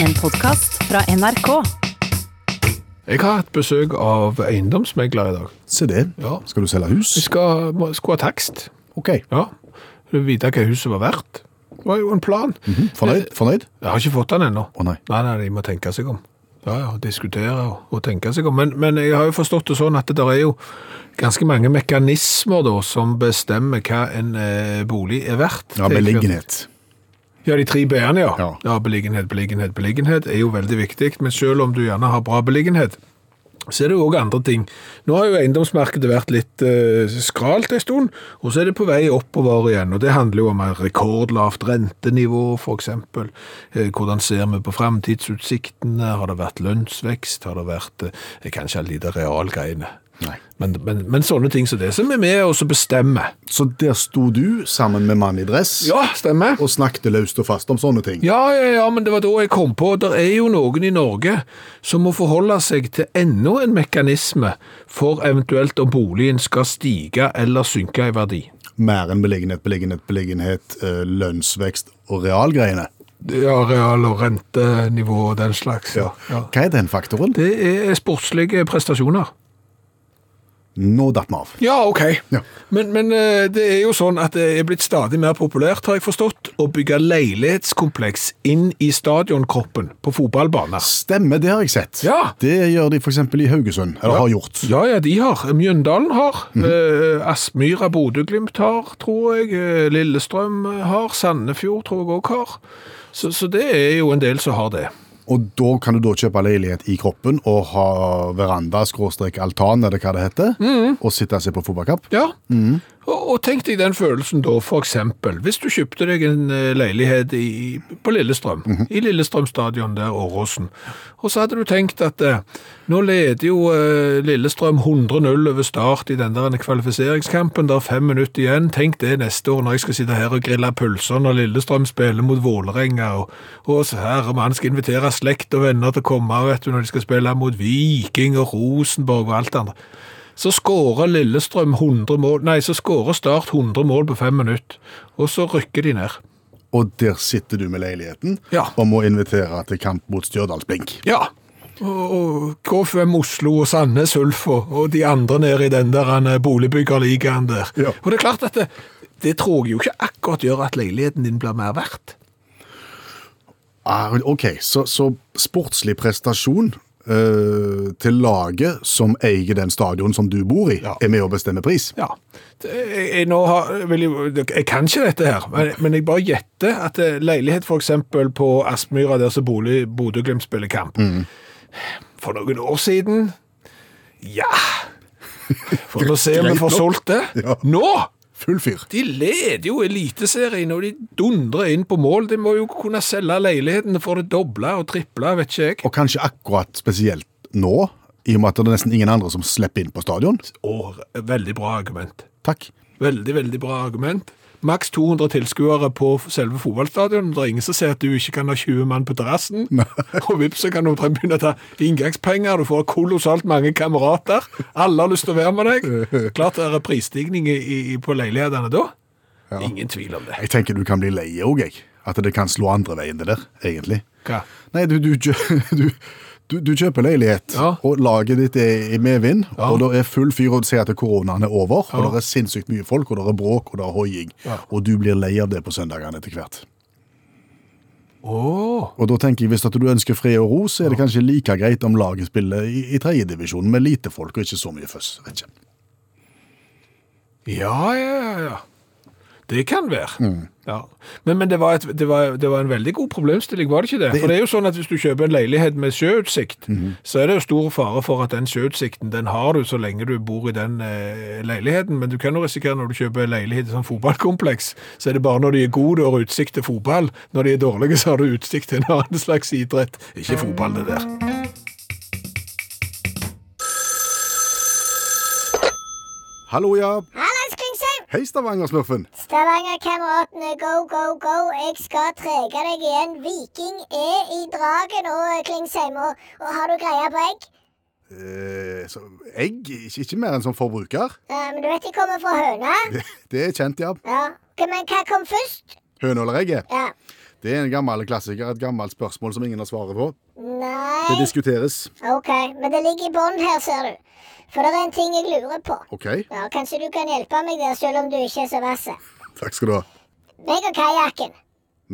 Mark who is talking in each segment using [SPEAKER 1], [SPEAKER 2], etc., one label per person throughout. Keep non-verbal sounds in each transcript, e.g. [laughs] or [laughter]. [SPEAKER 1] En podkast fra NRK.
[SPEAKER 2] Jeg har hatt besøk av eiendomsmegler i dag.
[SPEAKER 3] Se det.
[SPEAKER 2] Ja.
[SPEAKER 3] Skal du selge
[SPEAKER 2] Vi
[SPEAKER 3] hus?
[SPEAKER 2] skal, må- skulle ha takst.
[SPEAKER 3] Ok.
[SPEAKER 2] Ja. Du vite hva huset var verdt. Det var jo en plan.
[SPEAKER 3] Mhm. Fornøyd? Fornøyd?
[SPEAKER 2] Jeg har ikke fått den ennå.
[SPEAKER 3] Å nei.
[SPEAKER 2] Nei, nei, de må tenke seg om. Ja, ja, diskutere og, og tenke seg om. Men, men jeg har jo forstått det sånn at det er jo ganske mange mekanismer da, som bestemmer hva en eh, bolig er verdt. Det er
[SPEAKER 3] Ja,
[SPEAKER 2] ikke-
[SPEAKER 3] beliggenhet.
[SPEAKER 2] Ja, de tre B-ene, ja. ja.
[SPEAKER 3] Ja.
[SPEAKER 2] beliggenhet, beliggenhet, beliggenhet er jo veldig viktig, men selv om du gjerne har bra beliggenhet, så er det jo også andre ting. Nå har jo eiendomsmarkedet vært litt eh, skralt en stund, og så er det på vei oppover igjen, og det handler jo om et rekordlavt rentenivå, for eksempel. Eh, hvordan ser vi på fremtidsutsiktene? Har det vært lønnsvekst? Har det vært eh, kanskje en lite realgreiene?
[SPEAKER 3] Nei.
[SPEAKER 2] Men, men, men sånne ting som det, som er med og så bestemmer.
[SPEAKER 3] Så der sto du sammen med mann i dress
[SPEAKER 2] Ja, stemmer.
[SPEAKER 3] og snakket løst og fast om sånne ting.
[SPEAKER 2] Ja, ja, ja, men det var da jeg kom på. Der er jo noen i Norge som må forholde seg til enda en mekanisme for eventuelt om boligen skal stige eller synke i verdi.
[SPEAKER 3] Mer enn beliggenhet, beliggenhet, beliggenhet, eh, lønnsvekst og realgreiene.
[SPEAKER 2] Ja, real- og rentenivå og den slags. Ja. Ja.
[SPEAKER 3] Hva er den faktoren?
[SPEAKER 2] Det er sportslige prestasjoner.
[SPEAKER 3] Nå datt vi av.
[SPEAKER 2] Ja, ok.
[SPEAKER 3] Ja.
[SPEAKER 2] Men, men eh, det er jo sånn at det er blitt stadig mer populært, har jeg forstått, å bygge leilighetskompleks inn i stadionkroppen på fotballbaner.
[SPEAKER 3] Stemmer, det har jeg sett.
[SPEAKER 2] Ja.
[SPEAKER 3] Det gjør de f.eks. i Haugesund, eller har gjort.
[SPEAKER 2] Ja, ja, de har. Mjøndalen har. eh, Aspmyra Bodø-Glimt har, tror jeg. eh, Lillestrøm har. Sandefjord tror jeg òg har. Så, så det er jo en del som har det.
[SPEAKER 3] Og da kan du da kjøpe leilighet i kroppen og ha veranda, skråstrek, altan, eller hva det heter,
[SPEAKER 2] Mm.
[SPEAKER 3] og sitte og se på fotballkamp.
[SPEAKER 2] Ja. Og, og tenk deg den følelsen da, for eksempel. Hvis du kjøpte deg en eh, leilighet i, på Lillestrøm, i Lillestrøm stadion der, Åråsen, og så hadde du tenkt at eh, nå leder jo eh, Lillestrøm 100-0 over start i den der kvalifiseringskampen, der er fem minutter igjen. Tenk det neste år når jeg skal sitte her og grille pølser når Lillestrøm spiller mot Vålerenga, og, og så her om han skal invitere slekt og venner til å komme, vet du, når de skal spille mot Viking og Rosenborg og alt det andre så skårer Lillestrøm 100 mål, nei, så skårer Start 100 mål på fem minutter, og så rykker de ned.
[SPEAKER 3] Og der sitter du med leiligheten
[SPEAKER 2] Ja.
[SPEAKER 3] og må invitere til kamp mot Stjørdalsblink.
[SPEAKER 2] Ja, og, og KFM Oslo og Sandnes Ulf og, og de andre nede i den der eh, boligbyggerligaen der.
[SPEAKER 3] Ja.
[SPEAKER 2] Og det er klart at det, det tror jeg jo ikke akkurat gjør at leiligheten din blir mer verdt.
[SPEAKER 3] Ah, ok, så, så sportslig prestasjon eh, til laget som eier den stadion som du bor i,
[SPEAKER 2] Ja.
[SPEAKER 3] er med å bestemme pris.
[SPEAKER 2] Ja. Det- Jeg, jeg, nå har, vil jeg, jeg kan ikke dette her, men, men jeg bare gjetter at eh, leilighet for eksempel på Aspmyra, der som bolig- Bodø-Glimt spiller kamp,
[SPEAKER 3] Mm.
[SPEAKER 2] for noen år siden, ja, for nå ser vi
[SPEAKER 3] Greit
[SPEAKER 2] for
[SPEAKER 3] nok.
[SPEAKER 2] solgt det.
[SPEAKER 3] Ja.
[SPEAKER 2] Nå!
[SPEAKER 3] Full fyr.
[SPEAKER 2] De leder jo eliteserien, og de dundrer inn på mål. De må jo kunne selge leilighetene for det doble og triple, vet ikke jeg.
[SPEAKER 3] Og kanskje akkurat spesielt nå, i og med at det er nesten ingen andre som slipper inn på stadion.
[SPEAKER 2] Åh, veldig bra argument.
[SPEAKER 3] Takk.
[SPEAKER 2] Veldig, veldig bra argument. Maks 200 tilskuere på selve fotballstadionet. Det er ingen som sier at du ikke kan ha 20 mann på terrassen. [laughs] Og vips, så kan du omtrent begynne å ta inngangspenger. Du får kolossalt mange kamerater. Alle har lyst til å være med deg. Klart det er prisstigning i, i, på leilighetene da. Ingen tvil om det.
[SPEAKER 3] Jeg tenker du kan bli lei òg, jeg. At det kan slå andre veien, det der, egentlig.
[SPEAKER 2] Hva?
[SPEAKER 3] Nei, du, du, kjø- [laughs] du, du, du kjøper leilighet,
[SPEAKER 2] Ja.
[SPEAKER 3] og laget ditt er i medvind, og det er full fyr og du ser at koronaen er over,
[SPEAKER 2] Ja.
[SPEAKER 3] og det er sinnssykt mye folk, og det er bråk, og det er hoiing,
[SPEAKER 2] Ja.
[SPEAKER 3] og du blir lei av det på søndagene etter hvert.
[SPEAKER 2] Åh,
[SPEAKER 3] Og da tenker jeg, hvis at du ønsker fred og ro, så er det kanskje like greit om laget spiller i, i tredjedivisjonen med lite folk og ikke så mye føss. Vet ikke.
[SPEAKER 2] ja, ja, ja, ja. Det kan være. Ja. Men, men det, var et, det, var, det var en veldig god problemstilling, var det ikke det? For det er jo sånn at hvis du kjøper en leilighet med sjøutsikt, så er det jo stor fare for at den sjøutsikten den har du så lenge du bor i den eh, leiligheten. Men du kan jo risikere når du kjøper en leilighet i sånn fotballkompleks, så er det bare når de er gode du har utsikt til fotball. Når de er dårlige, så har du utsikt til en annen slags idrett. Ikke fotball, det der.
[SPEAKER 3] Hallo, ja.
[SPEAKER 4] Hallais, Klingsheim!
[SPEAKER 3] Hei, Stavanger-smurfen.
[SPEAKER 4] Stavangerkameratene, go, go, go. Jeg skal trege deg igjen. Viking er i draget nå, Klingsheim. Og, og har du greie på egg?
[SPEAKER 3] Eh, så, egg? Ikke, ikke mer enn som forbruker. [laughs]
[SPEAKER 4] Ja, men du vet de kommer fra høna?
[SPEAKER 3] Det, det er kjent, ja.
[SPEAKER 4] Ja. Ok, Men hva kom først?
[SPEAKER 3] Høne eller egget?
[SPEAKER 4] Ja.
[SPEAKER 3] Det er en gammel klassiker, et gammelt spørsmål som ingen har svaret på. Det
[SPEAKER 4] Nei.
[SPEAKER 3] diskuteres.
[SPEAKER 4] OK, men det ligger i bånn her, ser du. For det er en ting jeg lurer på.
[SPEAKER 3] OK,
[SPEAKER 4] Ja, Kanskje du kan hjelpe meg der, selv om du ikke er så vass.
[SPEAKER 3] takk skal du ha.
[SPEAKER 4] Meg og kajakken.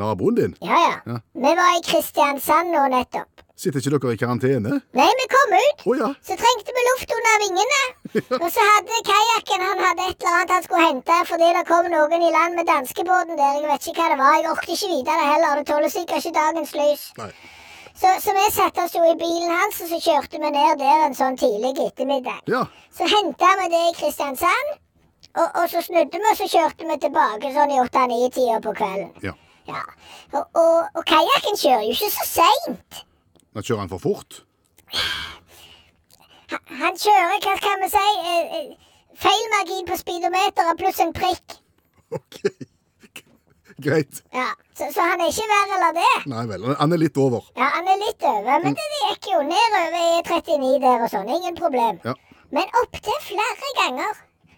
[SPEAKER 3] Naboen din?
[SPEAKER 4] Ja, ja,
[SPEAKER 3] Ja.
[SPEAKER 4] Vi var i Kristiansand nå nettopp.
[SPEAKER 3] Sitter ikke dere i karantene?
[SPEAKER 4] Nei, vi kom ut.
[SPEAKER 3] Å ja.
[SPEAKER 4] Så trengte vi luft under vingene. Og så hadde kajakken han hadde et eller annet han skulle hente fordi det kom noen i land med danskebåten der. Jeg vet ikke hva det var. Jeg orker ikke vite det heller. Det tåler sikkert ikke dagens lys.
[SPEAKER 3] Nei.
[SPEAKER 4] Så, så vi satte oss jo i bilen hans, og så kjørte vi ned der en sånn tidlig ettermiddag.
[SPEAKER 3] Ja.
[SPEAKER 4] Så henta vi det i Kristiansand, og, og så snudde vi, og så kjørte vi tilbake sånn i åtte-ni-tida på kvelden.
[SPEAKER 3] ja.
[SPEAKER 4] Ja. Og, og, og kajakken kjører jo ikke så seint.
[SPEAKER 3] Da kjører han for fort? [laughs]
[SPEAKER 4] Han kjører, hva kan vi si, eh, eh, feil margin på speedometeret pluss en prikk.
[SPEAKER 3] OK. Greit.
[SPEAKER 4] Ja. Så, så han er ikke verre eller det.
[SPEAKER 3] Nei vel. Han er litt over.
[SPEAKER 4] Ja, Han er litt over,
[SPEAKER 3] Mm.
[SPEAKER 4] men det det gikk jo nedover E39 der og sånn. Ingen problem.
[SPEAKER 3] Ja.
[SPEAKER 4] Men opptil flere ganger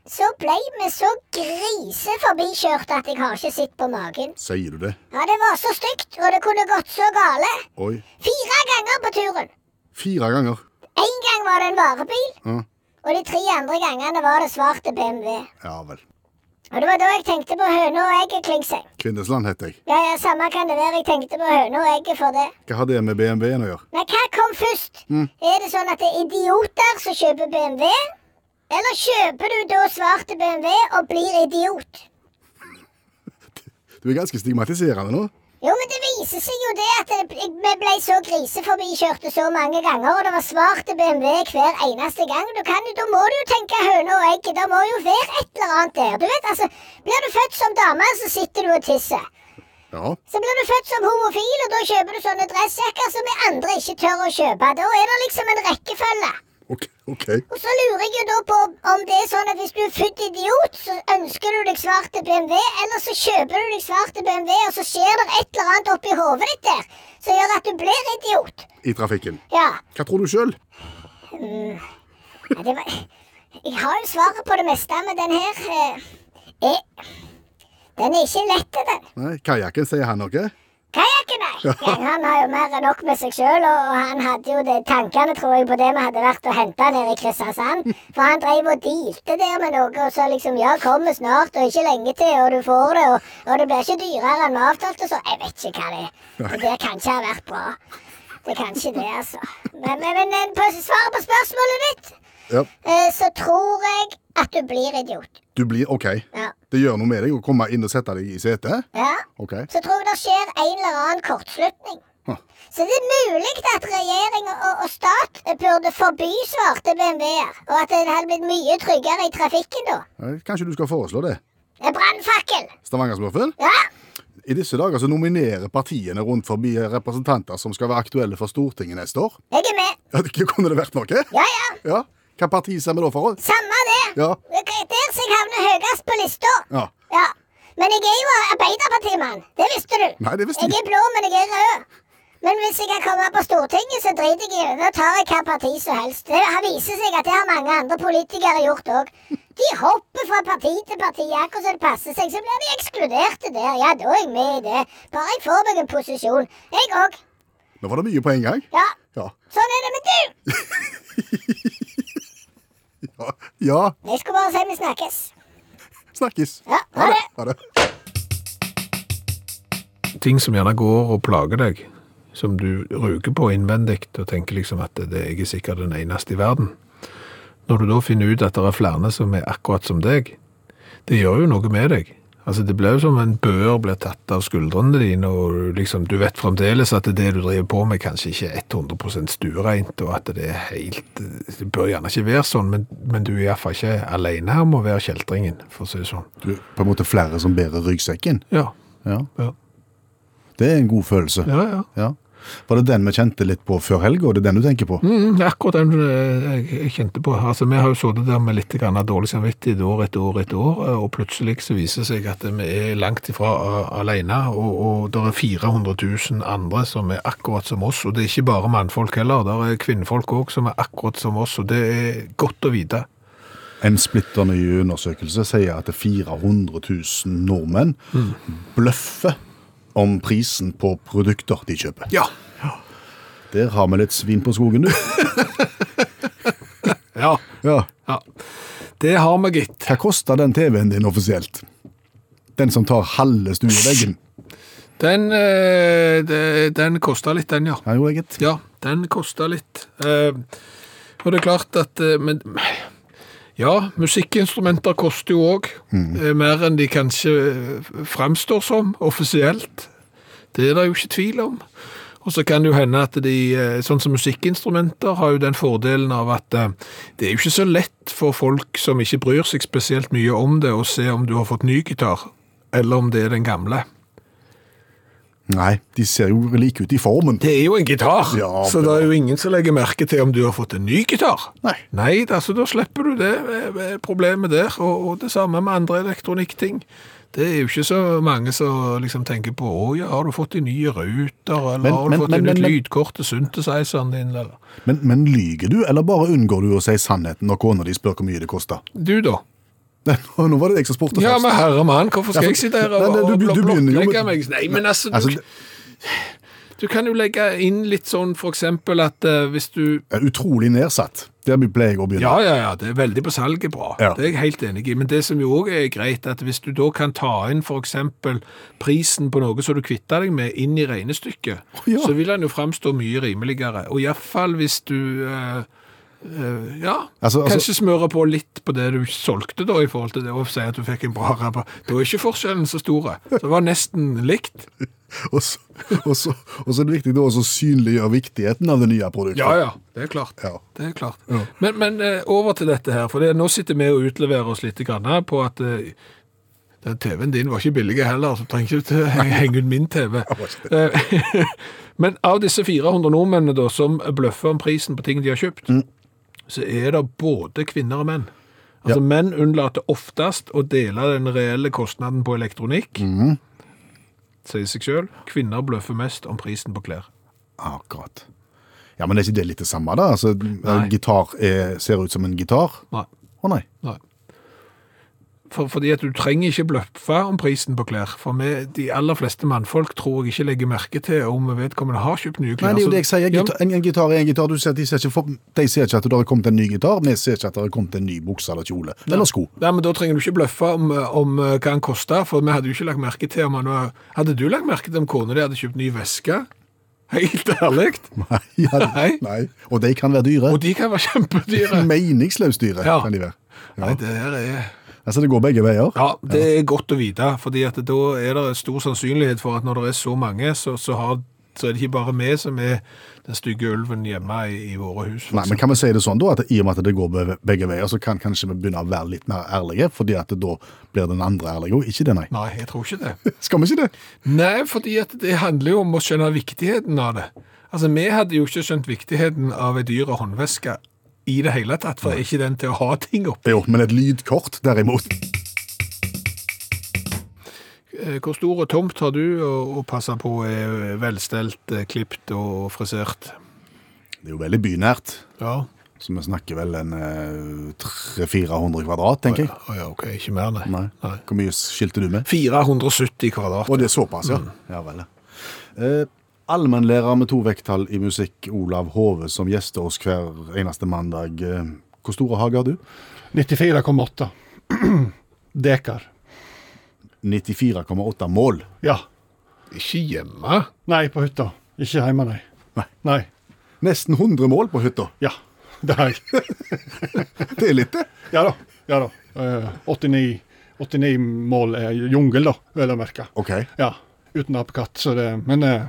[SPEAKER 4] så ble vi så griseforbikjørt at jeg har ikke sett på magen.
[SPEAKER 3] Sier du det?
[SPEAKER 4] Ja, Det var så stygt, og det kunne gått så gale.
[SPEAKER 3] Oi.
[SPEAKER 4] Fire ganger på turen.
[SPEAKER 3] Fire ganger.
[SPEAKER 4] Én gang var det en varebil.
[SPEAKER 3] Ja,
[SPEAKER 4] Og de tre andre gangene var det svarte BMW.
[SPEAKER 3] ja vel.
[SPEAKER 4] Og det var da jeg tenkte på høna og egget, Klingsheim.
[SPEAKER 3] Kvinnesland heter jeg.
[SPEAKER 4] Ja, ja, samme kan det være jeg tenkte på høna og egget for det.
[SPEAKER 3] Hva har det med BMW-en å gjøre?
[SPEAKER 4] Men hva kom først? Er det sånn at det er idioter som kjøper BMW? Eller kjøper du da svarte BMW og blir idiot?
[SPEAKER 3] Du er ganske stigmatiserende nå.
[SPEAKER 4] Jo, men det viser seg jo det at det, vi ble så griseforbikjørte så mange ganger, og det var svarte BMW hver eneste gang. Du kan jo, Da må du jo tenke høne og egg. Det må jo være et eller annet der. Du vet, altså, Blir du født som dame, så sitter du og tisser.
[SPEAKER 3] Ja.
[SPEAKER 4] Så blir du født som homofil, og da kjøper du sånne dressjakker som vi andre ikke tør å kjøpe. Da er det liksom en rekkefølge.
[SPEAKER 3] OK. ok.
[SPEAKER 4] Og så lurer jeg jo da på om det er sånn at hvis du er født idiot, så ønsker du deg svarte BMW, eller så kjøper du deg svarte BMW, og så skjer det et eller annet oppi hodet ditt der som gjør at du blir idiot.
[SPEAKER 3] I trafikken.
[SPEAKER 4] Ja.
[SPEAKER 3] Hva tror du sjøl?
[SPEAKER 4] ja, Det var Jeg har jo svaret på det meste, men den her eh, er Den er ikke lett, den.
[SPEAKER 3] Nei, Kajakken, sier han noe?
[SPEAKER 4] Kajakken, nei. Han har jo mer enn nok med seg sjøl, og og han hadde jo det, tankene, tror jeg, på det vi hadde vært og henta nede i Kristiansand. For han dreiv og dealte der med noe og sa liksom ja, kommer snart, og ikke lenge til, og du får det, og, og det blir ikke dyrere enn vi avtalte, så jeg vet ikke hva det er. Det der kan ikke ha vært bra. Det kan ikke det, altså. Men, men, men eh, på svaret på spørsmålet ditt,
[SPEAKER 3] Ja.
[SPEAKER 4] eh, så tror jeg at du blir idiot.
[SPEAKER 3] Du blir OK.
[SPEAKER 4] Ja.
[SPEAKER 3] Det gjør noe med deg å komme inn og sette deg i setet?
[SPEAKER 4] ja.
[SPEAKER 3] OK.
[SPEAKER 4] Så tror jeg det skjer en eller annen kortslutning.
[SPEAKER 3] Huh.
[SPEAKER 4] Så det er mulig at regjering og, og stat eh, burde forby svarte BMW-er, og at det hadde blitt mye tryggere i trafikken da.
[SPEAKER 3] Nei, eh, Kanskje du skal foreslå det?
[SPEAKER 4] En Brannfakkel!
[SPEAKER 3] Stavangersmurfen?
[SPEAKER 4] Ja,
[SPEAKER 3] I disse dager så nominerer partiene rundt forbi representanter som skal være aktuelle for Stortinget neste år. [laughs]
[SPEAKER 4] jeg er med.
[SPEAKER 3] Ja, det Kunne det vært noe?
[SPEAKER 4] Ja, ja.
[SPEAKER 3] Ja. Hva parti ser vi da for oss?
[SPEAKER 4] Samme det.
[SPEAKER 3] Ja.
[SPEAKER 4] Det er Der som jeg havner høyest på lista.
[SPEAKER 3] Ja.
[SPEAKER 4] Ja. Men jeg er jo Arbeiderpartimann. Det visste du.
[SPEAKER 3] Nei, det visste jeg
[SPEAKER 4] Jeg er blå, men jeg er rød. Men hvis jeg kan komme på Stortinget, så driter jeg i det. Da tar jeg hva parti som helst. Det har- viser seg at det har mange andre politikere gjort òg. De hopper fra parti til parti akkurat som det passer seg. Så blir de ekskluderte der. Ja, da er jeg med i det. Bare jeg får meg en posisjon. Jeg òg.
[SPEAKER 3] Nå var det mye på en gang.
[SPEAKER 4] Ja.
[SPEAKER 3] Ja.
[SPEAKER 4] Sånn er det med du.
[SPEAKER 3] Ja. ja.
[SPEAKER 4] Jeg skulle bare si vi snakkes.
[SPEAKER 3] Snakkes.
[SPEAKER 4] Ja, ha det.
[SPEAKER 3] Ha det.
[SPEAKER 2] ting som gjerne går og plager deg, som du ruger på innvendig og tenker liksom at det er ikke sikkert den eneste i verden. Når du da finner ut at det er flere som er akkurat som deg, det gjør jo noe med deg. Altså Det blir jo som en bør blir tatt av skuldrene dine, og du liksom, du vet fremdeles at det du driver på med kanskje ikke er 100 stuereint, og at det er helt Det bør gjerne ikke være sånn, men, men du er iallfall ikke alene om å være kjeltringen, for å si det sånn.
[SPEAKER 3] Du, på en måte flere som bærer ryggsekken.
[SPEAKER 2] Ja.
[SPEAKER 3] Ja.
[SPEAKER 2] Ja,
[SPEAKER 3] Det er en god følelse.
[SPEAKER 2] ja. ja.
[SPEAKER 3] Ja. Var det den vi kjente litt på før helga? Det er den du tenker på?
[SPEAKER 2] Mm, akkurat den eh, jeg jeg kjente på. Altså, Vi har jo sittet der med litt grann dårlig samvittighet år etter år etter år, eh, og plutselig så viser det seg at vi er langt ifra eh, alene, og, og det er 400 000 andre som er akkurat som oss. Og det er ikke bare mannfolk heller, det er kvinnfolk òg som er akkurat som oss, og det er godt å vite.
[SPEAKER 3] En splitter ny undersøkelse sier at 400 000 nordmenn bløffer om prisen på produkter de kjøper.
[SPEAKER 2] Ja.
[SPEAKER 3] Der har vi litt svin på skogen, du.
[SPEAKER 2] Ja.
[SPEAKER 3] Ja.
[SPEAKER 2] ja. Det har vi, gitt.
[SPEAKER 3] Hva koster den TV-en din offisielt? Den som tar halve stueveggen?
[SPEAKER 2] Den, eh, de- den kosta litt, den, ja.
[SPEAKER 3] Ja, jo, jeg gitt.
[SPEAKER 2] Ja, den kosta litt. Eh, og det er klart at eh, Men ja, musikkinstrumenter koster jo òg eh, mer enn de kanskje eh, framstår som offisielt. Det er det jo ikke tvil om. Og så kan det jo hende at de, eh, sånn som musikkinstrumenter, har jo den fordelen av at eh, det er jo ikke så lett for folk som ikke bryr seg spesielt mye om det, å se om du har fått ny gitar, eller om det er den gamle.
[SPEAKER 3] Nei, de ser jo like ut i formen.
[SPEAKER 2] Det er jo en gitar,
[SPEAKER 3] Ja,
[SPEAKER 2] så det
[SPEAKER 3] bra.
[SPEAKER 2] er jo ingen som legger merke til om du har fått en ny gitar.
[SPEAKER 3] Nei.
[SPEAKER 2] Nei, altså da slipper du det eh, problemet der, og, og det samme med andre elektronikkting. Det er jo ikke så mange som liksom tenker på å ja, har du fått de nye ruter, eller
[SPEAKER 3] Men-
[SPEAKER 2] har du
[SPEAKER 3] men-
[SPEAKER 2] fått
[SPEAKER 3] men-
[SPEAKER 2] en nytt
[SPEAKER 3] men-
[SPEAKER 2] lydkort til synthesizeren din, eller
[SPEAKER 3] Men, men lyger du, eller bare unngår du å si sannheten når kona di spør hvor mye det koster? [laughs]
[SPEAKER 2] Du, da?
[SPEAKER 3] Nei, Nå nå var det jeg som spurte
[SPEAKER 2] Ja,
[SPEAKER 3] først.
[SPEAKER 2] men herre mann, hvorfor skal
[SPEAKER 3] Ja, for-
[SPEAKER 2] jeg sitte her
[SPEAKER 3] Nei,
[SPEAKER 2] og,
[SPEAKER 3] nei,
[SPEAKER 2] og,
[SPEAKER 3] du be-
[SPEAKER 2] blok-
[SPEAKER 3] du begynner jo med-
[SPEAKER 2] blottlegge meg? Nei, men altså,
[SPEAKER 3] Altså,
[SPEAKER 2] du, du kan jo legge inn litt sånn for eksempel at eh, hvis du
[SPEAKER 3] det er utrolig nedsatt. Der pleier jeg å begynne.
[SPEAKER 2] Ja, ja, ja. Det er veldig på salget bra.
[SPEAKER 3] Ja.
[SPEAKER 2] Det er jeg helt enig i. Men det som jo òg er greit, at hvis du da kan ta inn f.eks. prisen på noe som du kvitter deg med, inn i regnestykket,
[SPEAKER 3] ja.
[SPEAKER 2] så vil den jo framstå mye rimeligere. Og iallfall hvis du eh, eh, ja,
[SPEAKER 3] Altså- altså-
[SPEAKER 2] kanskje smøre på litt på det du solgte da, i forhold til det å si at du fikk en bra rabatt. Da er ikke forskjellen så
[SPEAKER 3] [laughs]
[SPEAKER 2] store. Så det var nesten likt.
[SPEAKER 3] Og, så, og, så, og så er det viktig da å synliggjøre viktigheten av det nye produktet.
[SPEAKER 2] Ja, ja, det er klart.
[SPEAKER 3] Ja.
[SPEAKER 2] Det er klart.
[SPEAKER 3] Ja.
[SPEAKER 2] Men, men eh, over til dette her, for det, nå sitter vi og utleverer oss litt grann her på at eh, den TV-en din var ikke billig heller, så du trenger ikke til å henge- henge ut min
[SPEAKER 3] [laughs]
[SPEAKER 2] TV. Eh, [laughs] men av disse 400 nordmennene da, som bløffer om prisen på ting de har kjøpt,
[SPEAKER 3] Mm.
[SPEAKER 2] så er det både kvinner og menn. Altså Menn unnlater oftest å dele den reelle kostnaden på elektronikk,
[SPEAKER 3] Mm.
[SPEAKER 2] sier seg selv. Kvinner bløffer mest om prisen på klær.
[SPEAKER 3] Akkurat. Ja, men er ikke det litt det samme, da? Altså, en gitar er, ser ut som en gitar.
[SPEAKER 2] Nei.
[SPEAKER 3] Å nei.
[SPEAKER 2] Nei. For, fordi at du trenger ikke bløffe om prisen på klær. For vi, de aller fleste mannfolk tror jeg ikke legger merke til om vedkommende har kjøpt nye
[SPEAKER 3] Nei,
[SPEAKER 2] klær.
[SPEAKER 3] det er jo
[SPEAKER 2] Så-
[SPEAKER 3] det jeg sier.
[SPEAKER 2] Ja,
[SPEAKER 3] Gita- En, en gitar er en gitar. Du ser, de, ser ikke for, de ser ikke at det har kommet en ny gitar, vi ser ikke at det har kommet en ny bukse eller kjole. Eller sko.
[SPEAKER 2] Nei, men Da trenger du ikke bløffe om, om eh, hva han koster, for vi hadde jo ikke lagt merke til om han var Hadde du lagt merke til om kona di hadde kjøpt ny veske? Helt ærlig.
[SPEAKER 3] [laughs] Nei, ja,
[SPEAKER 2] Nei.
[SPEAKER 3] nei. Og de kan være dyre.
[SPEAKER 2] Og de kan være kjempedyre.
[SPEAKER 3] [laughs] Meningsløst dyre
[SPEAKER 2] Ja.
[SPEAKER 3] kan de være.
[SPEAKER 2] Nei, det her er
[SPEAKER 3] Altså, det går begge veier.
[SPEAKER 2] Ja, det er godt å vite, fordi at da er det stor sannsynlighet for at når det er så mange, så, så, har, så er det ikke bare vi som er den stygge ulven hjemme i, i våre hus. for
[SPEAKER 3] Nei, men kan vi si det sånn da, at i og med at det går be- begge veier, så kan kanskje vi begynne å være litt mer ærlige, fordi at da blir den andre ærlig, og ikke det, nei.
[SPEAKER 2] Nei, jeg tror ikke det. [laughs]
[SPEAKER 3] Skal vi ikke det?
[SPEAKER 2] Nei, fordi at det handler jo om å skjønne viktigheten av det. Altså, Vi hadde jo ikke skjønt viktigheten av ei dyr og håndveske i det hele tatt, for er ikke den til å ha ting oppi?
[SPEAKER 3] Jo, men et lydkort derimot.
[SPEAKER 2] Eh, Hvor stor og tomt har du å, å passe på er velstelt, eh, klipt og frisert?
[SPEAKER 3] Det er jo veldig bynært,
[SPEAKER 2] Ja.
[SPEAKER 3] så vi snakker vel en eh, 300-400 kvadrat, tenker jeg.
[SPEAKER 2] Å ja, OK. Ikke mer, nei.
[SPEAKER 3] Nei. Hvor mye skilte du med?
[SPEAKER 2] 470 kvadrat.
[SPEAKER 3] Og det er såpass,
[SPEAKER 2] Mm.
[SPEAKER 3] ja. Ja vel. Eh, Allmennlærer med to vekttall i musikk, Olav Hove, som gjester oss hver eneste mandag. Eh, Hvor store hage har du?
[SPEAKER 5] 94,8 [clears throat] dekar.
[SPEAKER 3] 94,8 mål.
[SPEAKER 5] Ja.
[SPEAKER 2] Ikke hjemme?
[SPEAKER 5] Nei, på hytta. Ikke hjemme, nei.
[SPEAKER 3] Nei.
[SPEAKER 5] Nei.
[SPEAKER 3] Nesten 100 mål på hytta.
[SPEAKER 5] Ja. Det har jeg.
[SPEAKER 3] Det er litt, det.
[SPEAKER 5] Ja da. Ja da. Eh, 89, 89 mål er jungel, da, vel å merke.
[SPEAKER 3] OK.
[SPEAKER 5] Ja. Uten apekatt, så det Men eh,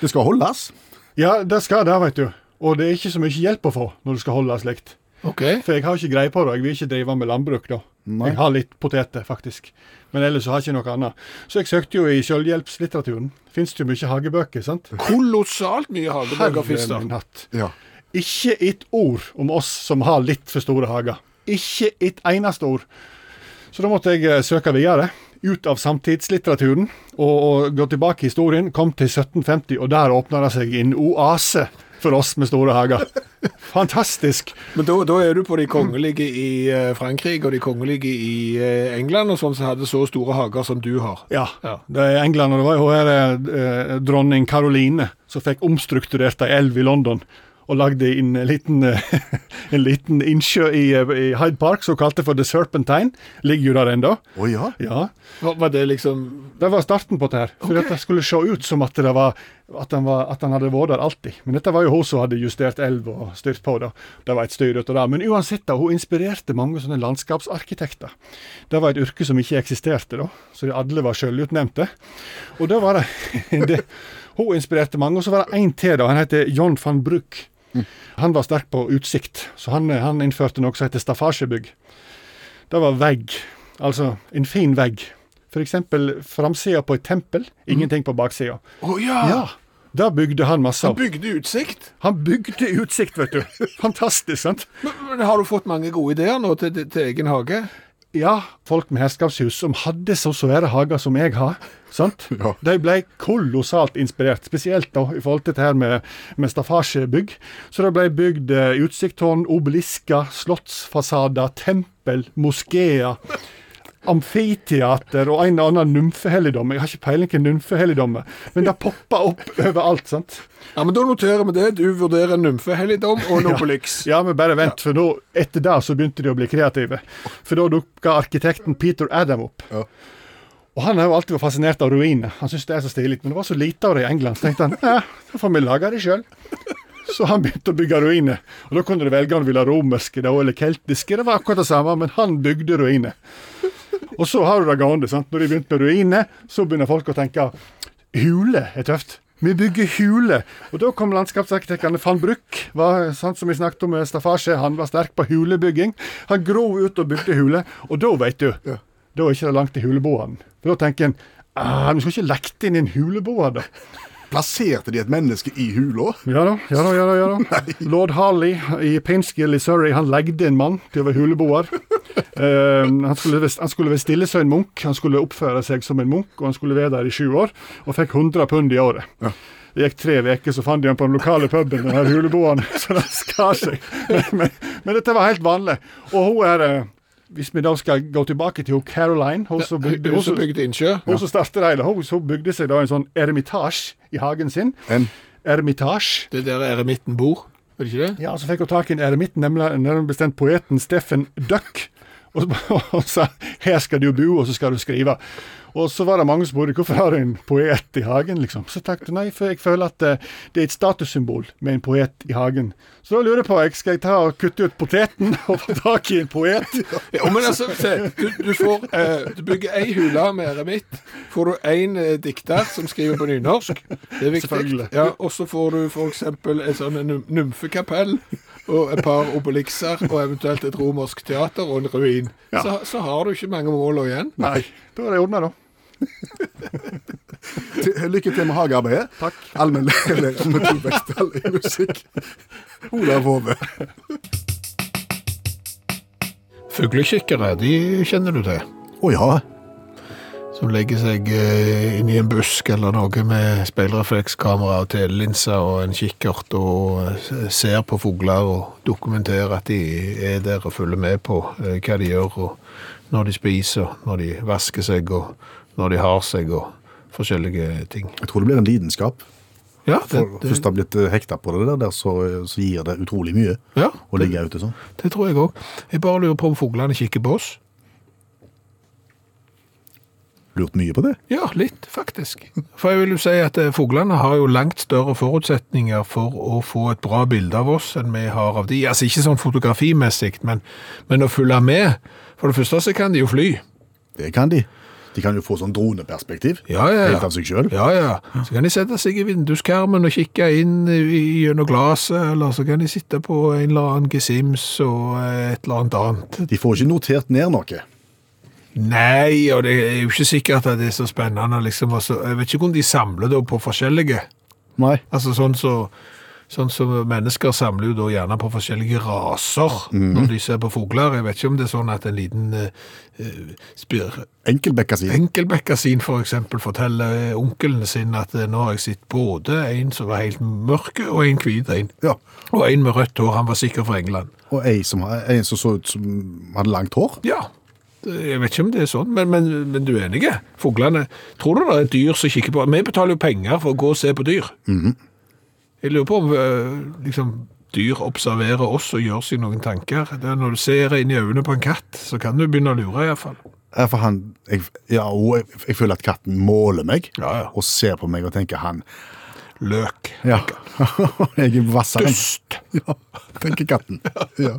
[SPEAKER 3] Det skal holdes.
[SPEAKER 5] ja, det skal det, veit du. Og det er ikke så mye hjelp å få når du skal holde slikt.
[SPEAKER 2] OK.
[SPEAKER 5] For jeg har ikke greie på det. Jeg vil ikke drive med landbruk, da.
[SPEAKER 3] Nei.
[SPEAKER 5] Jeg har litt poteter, faktisk. Men ellers så har jeg ikke noe annet. Så jeg søkte jo i selvhjelpslitteraturen. Fins det jo mye hagebøker, sant?
[SPEAKER 2] Kolossalt mye hagebøker finnes
[SPEAKER 5] Herre min
[SPEAKER 2] det.
[SPEAKER 5] hatt.
[SPEAKER 3] Ja.
[SPEAKER 5] Ikke et ord om oss som har litt for store hager. Ikke et eneste ord. Så da måtte jeg eh, søke videre. Ut av samtidslitteraturen og, og gå tilbake i historien. Kom til 1750, og der åpna det seg en oase for oss med store hager. Fantastisk.
[SPEAKER 2] Men da, da er du på de kongelige i eh, Frankrike og de kongelige i eh, England og sånn som hadde så store hager som du har.
[SPEAKER 5] Ja,
[SPEAKER 2] Ja.
[SPEAKER 5] det er England, og det var jo her eh, dronning Caroline som fikk omstrukturert ei elv i London. Og lagde en liten, eh, [laughs] en liten innsjø i, eh, i Hyde Park som hun kalte for The Serpentine. Ligger jo der ennå.
[SPEAKER 3] Å ja?
[SPEAKER 5] Ja.
[SPEAKER 2] Var, var det liksom
[SPEAKER 5] Det var starten på dette. her. For dette skulle se ut som at, det var, at, han var, at han hadde vært der alltid. Men dette var jo hun som hadde justert elv og styrt på det. Det var et styr ut av det. Men uansett, da, hun inspirerte mange sånne landskapsarkitekter. Det var et yrke som ikke eksisterte da, så de alle var sjølutnevnte. Og da var det, [laughs] det Hun inspirerte mange. Og så var det én til, da. Han heter John van Bruck. Han var sterk på utsikt, så han, han innførte noe som heter staffasjebygg. Det var vegg, altså en fin vegg. F.eks. framsida på et tempel, ingenting på baksida.
[SPEAKER 2] Å ja!
[SPEAKER 5] Mhm. Ja, det bygde han masse
[SPEAKER 2] Han
[SPEAKER 5] av.
[SPEAKER 2] bygde utsikt.
[SPEAKER 5] Han bygde utsikt, vet du. [laughs] Fantastisk, sant?
[SPEAKER 2] Men, men har du fått mange gode ideer nå til, til, til egen hage?
[SPEAKER 5] Ja, folk med herskapshus som hadde så svære hager som jeg har, sant?
[SPEAKER 3] Ja.
[SPEAKER 5] de ble kolossalt inspirert. Spesielt da, i forhold til dette her med, med staffasjebygg. Så det ble bygd eh, utsikttårn, obelisker, slottsfasader, tempel, moskeer. Amfiteater og en og annen nymfehelligdom. Jeg har ikke peiling på nymfehelligdommer, men det popper opp [laughs] overalt. sant?
[SPEAKER 2] Ja, men Da noterer vi det. Du vurderer en nymfehelligdom og en obelix.
[SPEAKER 5] Ja, men bare vent, for nå, etter det så begynte de å bli kreative. For da dukka arkitekten Peter Adam opp.
[SPEAKER 3] Ja.
[SPEAKER 5] Og han har jo alltid vært fascinert av ruiner. Han syntes det er så stilig, men det var så lite av det i England. Så tenkte han ja, da får vi lage det sjøl. Så han begynte å bygge ruiner. Og da kunne du velge om du ville ha romerske da, eller keltiske. Det var akkurat det samme, men han bygde ruiner. Og så har du det gående. sant? Når de begynte med ruiner, så begynner folk å tenke hule er tøft. Vi bygger hule. Og da kom landskapsarkitektene van Bruck, var, sant, som vi snakket om med staffasje. Han var sterk på hulebygging. Han grov ut og bygde hule. Og da, veit du, da er ikke det langt til huleboeren. For da tenker en ah, vi skal ikke lekte inn i en huleboer, da.
[SPEAKER 3] Plasserte de et menneske i hula?
[SPEAKER 5] Ja da, ja da, ja da. Ja da. Lord Harley i Pinskill i Surrey, han legde en mann til å være huleboer. Eh, han skulle vist- han skulle være stille som en munk, han skulle oppføre seg som en munk, og han skulle være der i sju år, og fikk 100 pund i året. Det gikk tre uker, så fant de han på den lokale puben, den her huleboeren, [laughs] så han skar seg. Men, men, men dette var helt vanlig. Og hun er eh, Hvis vi da skal gå tilbake til hun Caroline hun som bygde, hun
[SPEAKER 2] Hun som
[SPEAKER 5] som-
[SPEAKER 2] bygde innsjø.
[SPEAKER 5] hun som startet det hele, hun, hun bygde seg da en sånn eremitasje i hagen sin.
[SPEAKER 3] En
[SPEAKER 5] Eremitasje.
[SPEAKER 2] Det der eremitten bor, er det ikke det?
[SPEAKER 5] Ja, så fikk hun tak i en eremitt, nemlig nærmere bestemt poeten Steffen Duck. Og, så- [laughs] og sa 'her skal du bo, og så skal du skrive'. Og så var det mange som spurte 'hvorfor har du en poet i hagen', liksom. Så takk du nei, for jeg føler at eh, det er et statussymbol med en poet i hagen. Så da lurer jeg på, jeg skal jeg ta og kutte ut poteten [laughs] og få tak i en poet?
[SPEAKER 2] Ja, men altså, se, du, du, får, eh, du bygger ei hule med eremitt. Får du én eh, dikter som skriver på nynorsk, det er viktig.
[SPEAKER 5] Selvfølgelig.
[SPEAKER 2] Ja, og så får du f.eks. et sånn num- nymfekapell og et par obelikser og eventuelt et romersk teater og en ruin. Så, så har du ikke mange mål igjen.
[SPEAKER 5] Nei. Da er det ordna, da.
[SPEAKER 3] Til- Lykke til med hagearbeidet. Takk. Allmennlærer med to vekttall i musikk. Olav Hove.
[SPEAKER 2] Fuglekikkere, de kjenner du til.
[SPEAKER 3] Å ja.
[SPEAKER 2] Som legger seg eh, inn i en busk eller noe med speilreflekskamera og telelinser og en kikkert og eh, ser på fugler og dokumenterer at de er der og følger med på eh, hva de gjør, og når de spiser, og når de vasker seg og når de har seg og forskjellige ting.
[SPEAKER 3] Jeg tror det blir en lidenskap.
[SPEAKER 2] Ja, det,
[SPEAKER 3] For
[SPEAKER 2] det,
[SPEAKER 3] Først har blitt eh, hekta på det der, så, så gir det utrolig mye
[SPEAKER 2] ja,
[SPEAKER 3] å ligge ute sånn.
[SPEAKER 2] det tror jeg òg. Jeg bare lurer på om fuglene kikker på oss.
[SPEAKER 3] Lurt mye på det.
[SPEAKER 2] Ja, litt, faktisk. For jeg vil jo si at eh, fuglene har jo langt større forutsetninger for å få et bra bilde av oss enn vi har av de. Altså ikke sånn fotografimessig, men, men å følge med. For det første så kan de jo fly.
[SPEAKER 3] Det kan de. De kan jo få sånn droneperspektiv.
[SPEAKER 2] Ja, ja, ja.
[SPEAKER 3] Helt av seg sjøl.
[SPEAKER 2] Ja, ja. Så kan de sette seg i vinduskarmen og kikke inn i- gjennom glaset, eller så kan de sitte på en eller annen gesims og eh, et eller annet annet.
[SPEAKER 3] De får ikke notert ned noe.
[SPEAKER 2] Nei, og det er jo ikke sikkert at det er så spennende, liksom. Altså, Jeg vet ikke om de samler da på forskjellige.
[SPEAKER 3] Nei.
[SPEAKER 2] Altså sånn så, Sånn som mennesker samler jo da gjerne på forskjellige raser når de ser på fugler. Jeg vet ikke om det er sånn at en liten eh, eh, spir,
[SPEAKER 3] Enkelbekkasin.
[SPEAKER 2] enkelbekkasin for eksempel forteller eh, onkelen sin at eh, nå har jeg sett både en som var helt mørk og en hvit en.
[SPEAKER 3] Ja.
[SPEAKER 2] Og en med rødt hår, han var sikker fra England.
[SPEAKER 3] Og ei som, har- en som så ut som hadde langt hår.
[SPEAKER 2] Ja, jeg vet ikke om det er sånn, men, men, men du er enig. Fuglene, tror du det er dyr som kikker på? Vi betaler jo penger for å gå og se på dyr. Jeg lurer på om eh, liksom, dyr observerer oss og gjør seg noen tanker. Det er når du ser inn i øynene på en katt, så kan du begynne å lure i hvert fall.
[SPEAKER 3] Ja, For han, jeg, ja, og jeg, jeg føler at katten måler meg
[SPEAKER 2] Ja, ja.
[SPEAKER 3] og ser på meg og tenker han
[SPEAKER 2] Løk.
[SPEAKER 3] Ja, [laughs] jeg er vassere.
[SPEAKER 2] Dust.
[SPEAKER 3] Ja, tenker katten. Ja.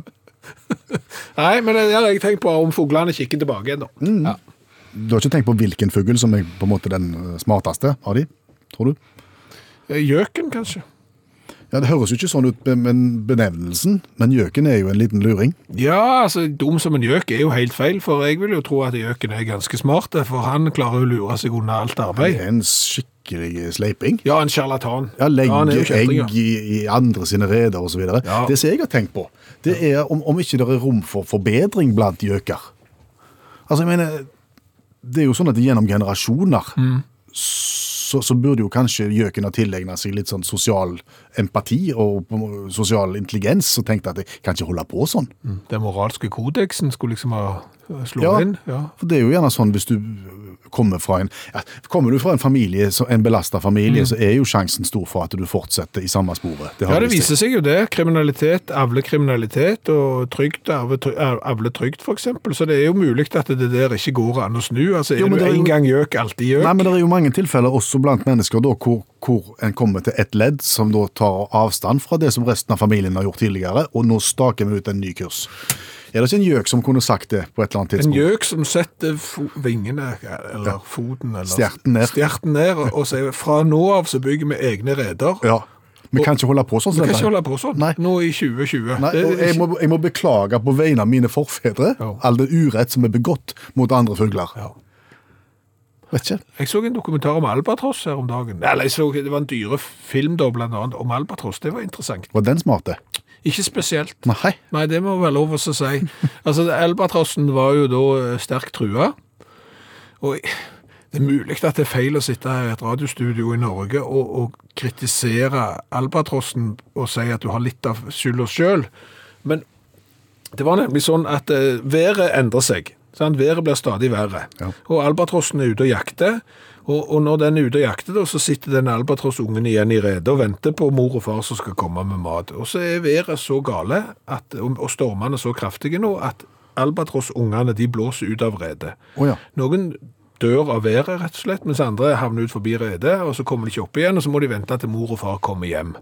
[SPEAKER 2] Nei, men jeg, jeg tenker på om fuglene kikker tilbake igjen da. Ja.
[SPEAKER 3] Du har ikke tenkt på hvilken fugl som er på en måte den eh, smarteste av de, tror du?
[SPEAKER 2] Eh, Gjøken, kanskje?
[SPEAKER 3] Ja, Det høres jo ikke sånn ut med med benevnelsen, men gjøken er jo en liten luring.
[SPEAKER 2] Ja, altså, dum som en gjøk er jo helt feil, for jeg vil jo tro at gjøken er ganske smart, for han klarer å lure seg unna alt
[SPEAKER 3] Det
[SPEAKER 2] arbeid.
[SPEAKER 3] er en skikkelig sleiping.
[SPEAKER 2] Ja, en sjarlatan.
[SPEAKER 3] Ja,
[SPEAKER 2] han er
[SPEAKER 3] Legger
[SPEAKER 2] jo kjeltring, ja.
[SPEAKER 3] egg i, i andre sine reder osv.
[SPEAKER 2] Ja.
[SPEAKER 3] Det som jeg har tenkt på, det er om, om ikke det er rom for forbedring blant gjøker. Altså, jeg mener, det er jo sånn at gjennom generasjoner
[SPEAKER 2] Mm.
[SPEAKER 3] så, så burde jo kanskje gjøken ha tilegna seg litt sånn sosial empati og på en måte sosial intelligens, og tenkt at jeg kan ikke holde på sånn.
[SPEAKER 2] Den moralske kodeksen skulle liksom ha slå
[SPEAKER 3] Ja.
[SPEAKER 2] inn. Ja.
[SPEAKER 3] For det er jo gjerne sånn hvis du kommer fra en ja, Kommer du fra en familie, så- en belasta familie, så er jo sjansen stor for at du fortsetter i samme sporet. har
[SPEAKER 2] Mm. ja,
[SPEAKER 3] vi
[SPEAKER 2] det
[SPEAKER 3] sett.
[SPEAKER 2] viser seg jo det. Kriminalitet avler kriminalitet, og trygt arve try- avler trygt, for eksempel. Så det er jo mulig at det der ikke går an å snu. Altså, er
[SPEAKER 3] Jo, men
[SPEAKER 2] du
[SPEAKER 3] det er jo-
[SPEAKER 2] en gang gjøk, alltid gjøk?
[SPEAKER 3] Nei, men det er jo mange tilfeller også blant mennesker da, hvor, hvor en kommer til et ledd som da tar avstand fra det som resten av familien har gjort tidligere, og nå staker vi ut en ny kurs. Er det ikke en gjøk som kunne sagt det på et eller annet
[SPEAKER 2] En
[SPEAKER 3] tidspunkt?
[SPEAKER 2] gjøk som setter fo- vingene, eller foten, eller
[SPEAKER 3] Stjerten ned.
[SPEAKER 2] stjerten ned, og- og sier fra nå av så bygger vi egne reder.
[SPEAKER 3] Ja. Vi kan ikke holde på
[SPEAKER 2] Vi
[SPEAKER 3] sånn. som
[SPEAKER 2] kan
[SPEAKER 3] dette.
[SPEAKER 2] ikke holde på sånn
[SPEAKER 3] Nei.
[SPEAKER 2] nå i 2020.
[SPEAKER 3] Nei,
[SPEAKER 2] Det er
[SPEAKER 3] og jeg,
[SPEAKER 2] ikke-
[SPEAKER 3] må, jeg må beklage på vegne av mine forfedre
[SPEAKER 2] Ja.
[SPEAKER 3] all det urett som er begått mot andre fugler.
[SPEAKER 2] Ja.
[SPEAKER 3] Vet ikke.
[SPEAKER 2] Jeg så en dokumentar om albatross her om dagen. Eller, jeg så, det var en dyrefilm da, blant annet, om albatross. Det var interessant.
[SPEAKER 3] Var den smarte?
[SPEAKER 2] Ikke spesielt.
[SPEAKER 3] Nei.
[SPEAKER 2] Nei, det må være lov å si. Altså, albatrossen var jo da eh, sterkt trua. Og det er mulig at det er feil å sitte her i et radiostudio i Norge og, og kritisere albatrossen og si at du har litt av skylda sjøl. Men det var nemlig sånn at eh, været endrer seg. Sant? Været blir stadig verre.
[SPEAKER 3] Ja.
[SPEAKER 2] Og albatrossen er ute og jakter. Og, og når den er ute og jakter, da, så sitter den albatrossungen igjen i redet og venter på mor og far som skal komme med mat. Og så er været så gale, at, og og stormene så kraftige nå, at albatrossungene de blåser ut av redet.
[SPEAKER 3] Å ja.
[SPEAKER 2] Noen dør av været, rett og slett, mens andre havner ut forbi redet, og så kommer de ikke opp igjen, og så må de vente til mor og far kommer hjem.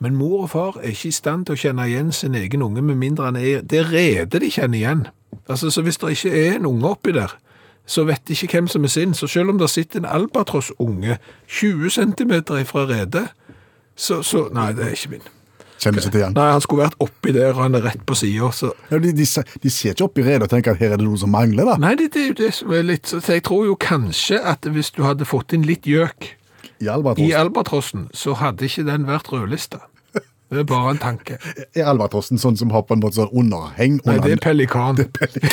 [SPEAKER 2] Men mor og far er ikke i stand til å kjenne igjen sin egen unge, med mindre han er det redet de kjenner igjen. Altså, Så hvis det ikke er en unge oppi der, så vet de ikke hvem som er sin. Så selv om det sitter en albatrossunge 20 cm fra redet, så, så Nei, det er ikke min.
[SPEAKER 3] Kjenner ikke til den.
[SPEAKER 2] Nei, han skulle vært oppi der, og han er rett på sida, så
[SPEAKER 3] Ja, de, de, se- de ser ikke opp i redet og tenker at her er det noe som mangler, da.
[SPEAKER 2] Nei, det, det er jo det som er litt Så jeg tror jo kanskje at hvis du hadde fått inn litt gjøk
[SPEAKER 3] I
[SPEAKER 2] i
[SPEAKER 3] albatrossen.
[SPEAKER 2] albatrossen, så hadde ikke den vært rødlista. Det er bare en tanke.
[SPEAKER 3] Er albatrossen sånn som har på en måte sånn underheng?
[SPEAKER 2] Nei,
[SPEAKER 3] under-
[SPEAKER 2] det er pelikan.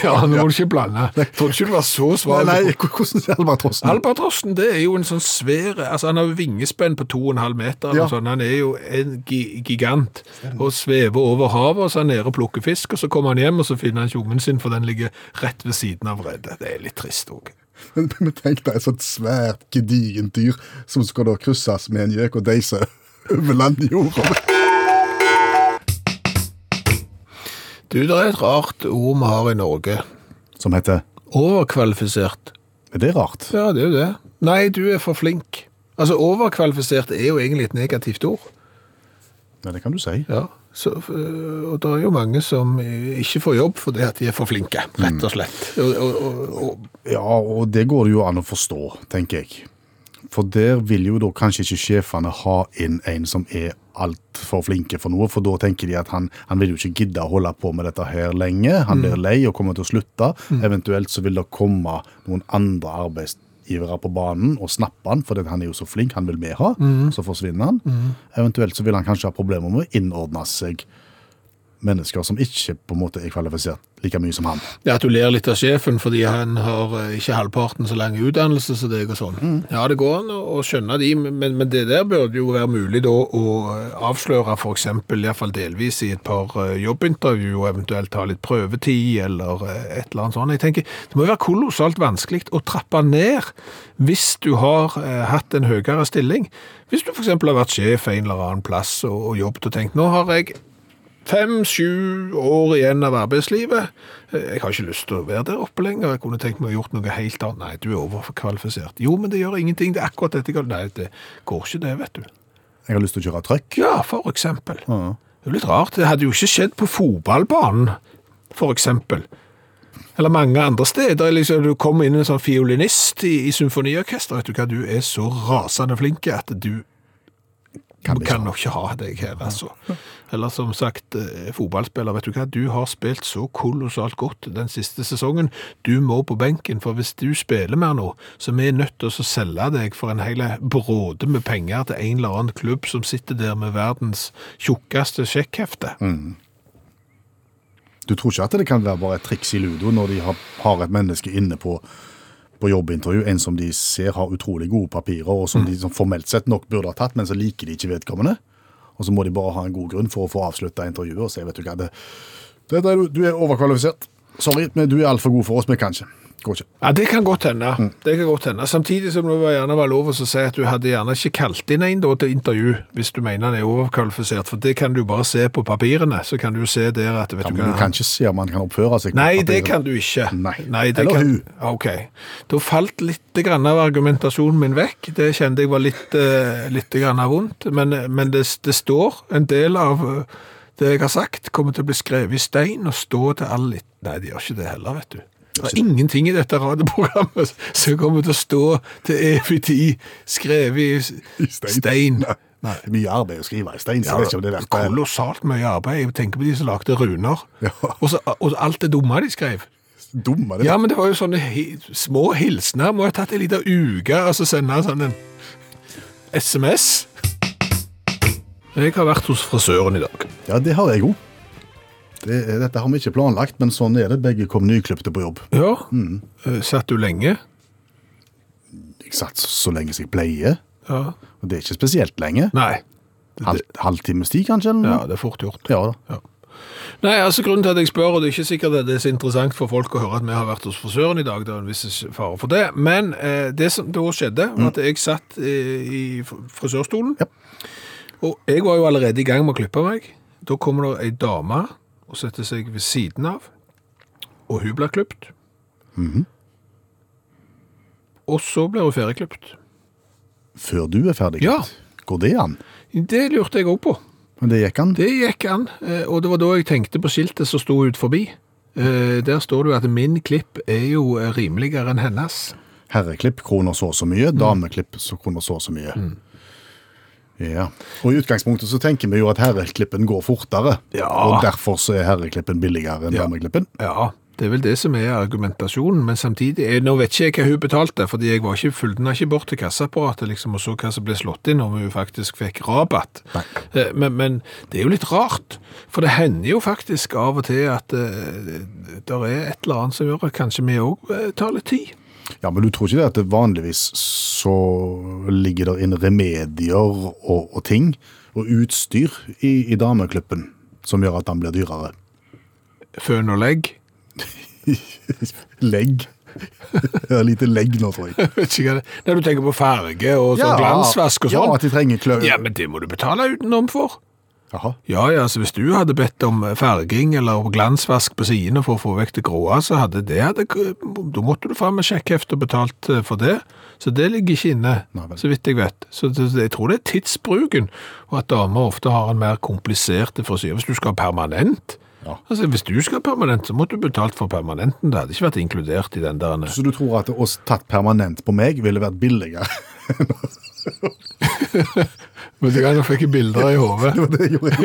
[SPEAKER 2] Ja, nå må du ikke blande. Jeg trodde ikke du var så
[SPEAKER 3] Nei,
[SPEAKER 2] svar.
[SPEAKER 3] nei, [laughs] hvordan er albatrossen?
[SPEAKER 2] Albatrossen det er jo en sånn svære altså Han har jo vingespenn på 2,5 meter. eller
[SPEAKER 3] Ja.
[SPEAKER 2] noe sånt. Han er jo en gi- gigant og svever over havet. og Så er han nede og plukker fisk, og så kommer han hjem og så finner han ikke ungen sin, for den ligger rett ved siden av redet. Det er litt trist òg.
[SPEAKER 3] [laughs] Men, men tenk deg et sånt svært gedigent dyr som skal da krysses med en gjøk og deise [laughs] over landjorda.
[SPEAKER 2] Du, det er et rart ord vi har i Norge.
[SPEAKER 3] Som heter
[SPEAKER 2] Overkvalifisert.
[SPEAKER 3] Er det rart?
[SPEAKER 2] Ja, det er jo det. Nei, du er for flink. Altså, overkvalifisert er jo egentlig et negativt ord.
[SPEAKER 3] Nei, det kan du si.
[SPEAKER 2] Ja. Så, øh, og det er jo mange som øh, ikke får jobb fordi at de er for flinke, rett og slett. Og, og, og, og,
[SPEAKER 3] Ja, og det går det jo an å forstå, tenker jeg. For der vil jo da kanskje ikke sjefene ha inn en som er altfor flinke for noe, for da tenker de at han, han vil jo ikke gidde å holde på med dette her lenge. Han blir lei og kommer til å slutte. Eventuelt så vil det komme noen andre arbeids ivre på banen og snappe han, fordi han er jo så flink, han vil vi ha. Så forsvinner han. Eventuelt så vil han kanskje ha problemer med å innordne seg mennesker som ikke på en måte er kvalifisert like mye som han.
[SPEAKER 2] Ja, at du ler litt av sjefen fordi han har eh, ikke halvparten så lang utdannelse som deg og sånn. Ja, det går an å å skjønne de, men, men det der burde jo være mulig da å eh, avsløre for eksempel, i hvert fall delvis i et par eh, jobbintervju, og eventuelt ta litt prøvetid eller eh, et eller annet sånt. Jeg tenker, det må jo være kolossalt vanskelig å trappe ned hvis du har eh, hatt en høyere stilling. Hvis du for eksempel har vært sjef en eller annen plass og, og jobbet og tenkt, nå har jeg fem-sju år igjen av arbeidslivet. Eh, Jeg har ikke lyst til å være der oppe lenger. Jeg kunne tenkt meg å gjort noe helt annet. Nei, du er overkvalifisert. Jo, men det gjør ingenting. Det er akkurat dette. jeg har- Nei, det går ikke det, vet du.
[SPEAKER 3] Jeg har lyst til å kjøre trøkk.
[SPEAKER 2] Ja, for eksempel.
[SPEAKER 3] Ja.
[SPEAKER 2] Det er jo litt rart. Det hadde jo ikke skjedd på fotballbanen, for eksempel. Eller mange andre steder. Liksom, du kommer inn en sånn fiolinist i, i symfoniorkester. Vet du hva, du er så rasende flink at du kan,
[SPEAKER 3] Kan ikke
[SPEAKER 2] kan nok ikke ha deg her, altså. Eller som sagt, eh, fotballspiller, vet du hva, du har spilt så kolossalt godt den siste sesongen. Du må på benken, for hvis du spiller mer nå, så vi er nødt til å selge deg for en hel bråde med penger til en eller annen klubb som sitter der med verdens tjukkeste sjekkhefte.
[SPEAKER 3] Mm. Du tror ikke at det kan være bare et triks i ludo når de har, har et menneske inne på, på jobbintervju, en som de ser har utrolig gode papirer, og
[SPEAKER 2] Mm.
[SPEAKER 3] som de sånn formelt sett nok burde ha tatt, men så liker de ikke vedkommende. Og så må de bare ha en god grunn for å få avslutta intervjuet og si vet du hva, det, det, det, du er overkvalifisert. Sorry, men du er altfor god for oss, vi kan ikke. Går ikke.
[SPEAKER 2] Ja, det kan godt hende.
[SPEAKER 3] Mm.
[SPEAKER 2] Det kan godt hende. Samtidig som det var gjerne var lov å si at du hadde gjerne ikke kalt inn en da til intervju, hvis du mener han er overkvalifisert, for det kan du bare se på papirene. Så kan du se der at vet
[SPEAKER 3] Ja,
[SPEAKER 2] du
[SPEAKER 3] men
[SPEAKER 2] hva,
[SPEAKER 3] du kan ikke se om han kan oppføre seg. på
[SPEAKER 2] Nei, det
[SPEAKER 3] papiret.
[SPEAKER 2] kan du ikke.
[SPEAKER 3] Nei.
[SPEAKER 2] det
[SPEAKER 3] Eller
[SPEAKER 2] kan...
[SPEAKER 3] hun.
[SPEAKER 2] Ok. Da falt litt grann av argumentasjonen min vekk. Det kjente jeg var litt, eh, litt grann vondt. Men, men det, det står en del av eh, det jeg har sagt, kommer til å bli skrevet i stein og stå til all litt. Nei, det gjør ikke det heller, vet du. Det er ingenting i dette radioprogrammet [laughs] som kommer til å stå til evig tid skrevet i
[SPEAKER 3] I stein.
[SPEAKER 2] stein.
[SPEAKER 3] Nei, det er mye arbeid å skrive i stein, så
[SPEAKER 2] Ja,
[SPEAKER 3] jeg vet ikke om det er verdt det.
[SPEAKER 2] kolossalt mye arbeid. Jeg tenker på de som lagde runer.
[SPEAKER 3] Ja.
[SPEAKER 2] Og, så, og alt det dumme de skrev.
[SPEAKER 3] Dumme, det.
[SPEAKER 2] Ja, men det var jo sånne hi små hilsener. Må ha tatt en liten uke og så sende en sånn en SMS. Jeg har vært hos frisøren i dag.
[SPEAKER 3] Ja, det har jeg òg. Det, er- dette har vi ikke planlagt, men sånn er det. Begge kom nyklipte på jobb.
[SPEAKER 2] Ja. Eh, Satt du lenge?
[SPEAKER 3] Jeg satt så lenge som jeg pleier,
[SPEAKER 2] Ja.
[SPEAKER 3] og det er ikke spesielt lenge.
[SPEAKER 2] Nei.
[SPEAKER 3] Halv, halvtimes tid, kanskje? Eller?
[SPEAKER 2] Ja,
[SPEAKER 3] noe?
[SPEAKER 2] det er fort gjort.
[SPEAKER 3] ja da.
[SPEAKER 2] Nei, altså Grunnen til at jeg spør, og det er ikke sikkert at det er så interessant for folk å høre at vi har vært hos frisøren i dag, det er en viss fare for det, men eh, det som da skjedde, var at jeg satt eh, i fr- frisørstolen,
[SPEAKER 3] Ja.
[SPEAKER 2] og jeg var jo allerede i gang med å klippe meg. Da kommer det ei dame og setter seg ved siden av, og hun blir klipt. Og så blir hun ferdigklipt.
[SPEAKER 3] Før du er ferdig.
[SPEAKER 2] Ja.
[SPEAKER 3] Går det an?
[SPEAKER 2] Det lurte jeg òg på.
[SPEAKER 3] Men det gikk an.
[SPEAKER 2] Det gikk an, eh, og det var da jeg tenkte på skiltet som sto ut forbi. Eh, Der står det jo at min klipp er jo eh, rimeligere enn hennes.
[SPEAKER 3] Herreklipp kroner så og så mye,
[SPEAKER 2] Mm.
[SPEAKER 3] dameklipp så kroner så og så mye. Ja. Og i utgangspunktet så tenker vi jo at herreklippen går fortere,
[SPEAKER 2] Ja.
[SPEAKER 3] og derfor så er herreklippen billigere enn dameklippen.
[SPEAKER 2] Ja, det er vel det som er argumentasjonen, men samtidig eh, Nå vet ikke jeg hva hun betalte, fordi jeg var ikke fulgte ikke bort til kassaapparatet liksom, og så hva som ble slått inn, om hun faktisk fikk rabatt. Eh, Men, men det er jo litt rart, for det hender jo faktisk av og til at eh, det er et eller annet som gjør at kanskje vi òg tar litt tid.
[SPEAKER 3] Ja, men du tror ikke det at det vanligvis så ligger der inne remedier og, og ting, og utstyr i, i dameklippen, som gjør at den blir dyrere?
[SPEAKER 2] Føn og legg.
[SPEAKER 3] [laughs] Legg. Det er lite legg nå, tror jeg.
[SPEAKER 2] [laughs] Vet ikke hva det Når du tenker på farge og sånn glansvask og
[SPEAKER 3] Ja,
[SPEAKER 2] sånn.
[SPEAKER 3] at de trenger klø...
[SPEAKER 2] Ja, men det må du betale utenom for.
[SPEAKER 3] Jaha.
[SPEAKER 2] Ja, ja, så hvis du hadde bedt om eh, farging eller glansvask på sidene for å få vekk det gråa, så hadde det hadde, Da måtte du fram med sjekkheft og betalt eh, for det. Så det ligger ikke inne,
[SPEAKER 3] Nei vel.
[SPEAKER 2] så vidt jeg vet. Så det, jeg tror det er tidsbruken, og at damer ofte har en mer komplisert frisyre. Hvis du skal ha permanent
[SPEAKER 3] Ja.
[SPEAKER 2] Altså, Hvis du skal ha permanent, så måtte du betalt for permanenten. Det hadde ikke vært inkludert i den der eh,
[SPEAKER 3] Så du tror at å tatt permanent på meg ville vært billigere
[SPEAKER 2] Men det gang jeg [laughs] fikk bilder i hodet.
[SPEAKER 3] [laughs] Det var [laughs] det jeg gjorde.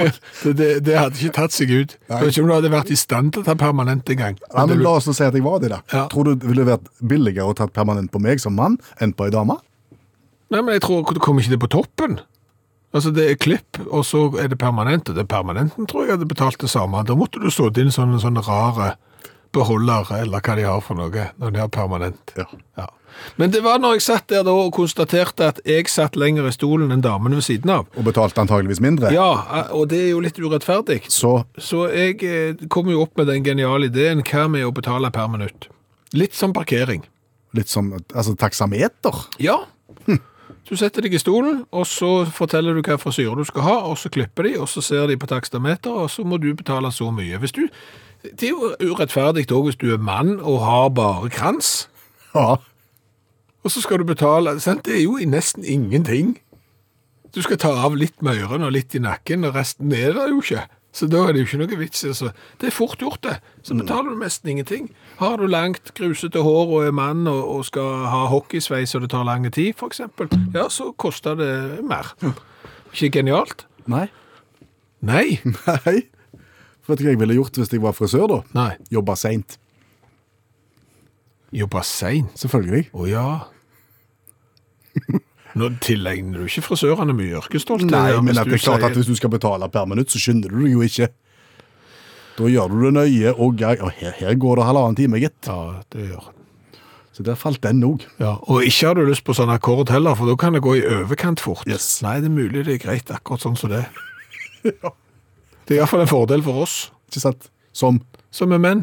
[SPEAKER 2] det, [laughs] det, det hadde ikke tatt seg ut. Jeg vet ikke om du hadde vært i stand til å ta permanent engang.
[SPEAKER 3] Nei, men La oss nå si at jeg var det, da.
[SPEAKER 2] Ja.
[SPEAKER 3] Tror du det ville vært billigere å ta permanent på meg som mann enn på ei dame?
[SPEAKER 2] Nei, men jeg tror du kommer ikke det på toppen. Altså, det er klipp, og så er det permanent, og det permanenten tror jeg hadde betalt det samme. Da måtte du stått inn sånne, sånne sånn, rare beholdere, eller hva de har for noe, når de har permanent.
[SPEAKER 3] Ja.
[SPEAKER 2] Ja. Men det var når jeg satt der da og konstaterte at jeg satt lenger i stolen enn damen ved siden av.
[SPEAKER 3] Og betalte antageligvis mindre?
[SPEAKER 2] Ja, eh, og det er jo litt urettferdig.
[SPEAKER 3] Så
[SPEAKER 2] Så jeg eh, kom jo opp med den geniale ideen, hva med å betale per minutt? Litt som parkering.
[SPEAKER 3] litt som altså, taksameter?
[SPEAKER 2] Ja. Hm. Du setter deg i stolen, og så forteller du hva frisyre du skal ha, og så klipper de, og så ser de på takstameter, og så må du betale så mye. Hvis du, det er jo urettferdig òg hvis du er mann og har bare krans,
[SPEAKER 3] [laughs] Ja.
[SPEAKER 2] og så skal du betale sant? Det er jo i nesten ingenting. Du skal ta av litt med ørene og litt i nakken, og resten er det jo ikke. Så da er det jo ikke noe vits. Altså. Det er fort gjort, det. Så betaler du nesten ingenting. Har du langt, grusete hår og er mann og, og skal ha hockeysveis og det tar lang tid, f.eks., ja, så koster det mer. Ikke genialt?
[SPEAKER 3] Nei.
[SPEAKER 2] Nei.
[SPEAKER 3] Nei. Vet du hva jeg ville gjort hvis jeg var frisør, da?
[SPEAKER 2] Nei.
[SPEAKER 3] Jobba seint.
[SPEAKER 2] Jobba seint.
[SPEAKER 3] Selvfølgelig.
[SPEAKER 2] Å
[SPEAKER 3] [laughs]
[SPEAKER 2] ja. Nå tilegner du ikke frisørene mye yrkesstolthet.
[SPEAKER 3] Nei,
[SPEAKER 2] her,
[SPEAKER 3] men
[SPEAKER 2] hvis
[SPEAKER 3] at
[SPEAKER 2] du
[SPEAKER 3] det er klart
[SPEAKER 2] sier-
[SPEAKER 3] at hvis du skal betale per minutt, så skynder du deg jo ikke. Da gjør du det nøye, og ga- ja, her, her går det halvannen time, gitt.
[SPEAKER 2] Ja, det gjør han.
[SPEAKER 3] Så der falt den òg.
[SPEAKER 2] Ja, og ikke har du lyst på sånn akkord heller, for da kan det gå i overkant fort.
[SPEAKER 3] Yes.
[SPEAKER 2] Nei, det er mulig det er greit akkurat sånn som det. [laughs] Det er iallfall en fordel for oss
[SPEAKER 3] Ikke sant? Som
[SPEAKER 2] som er menn.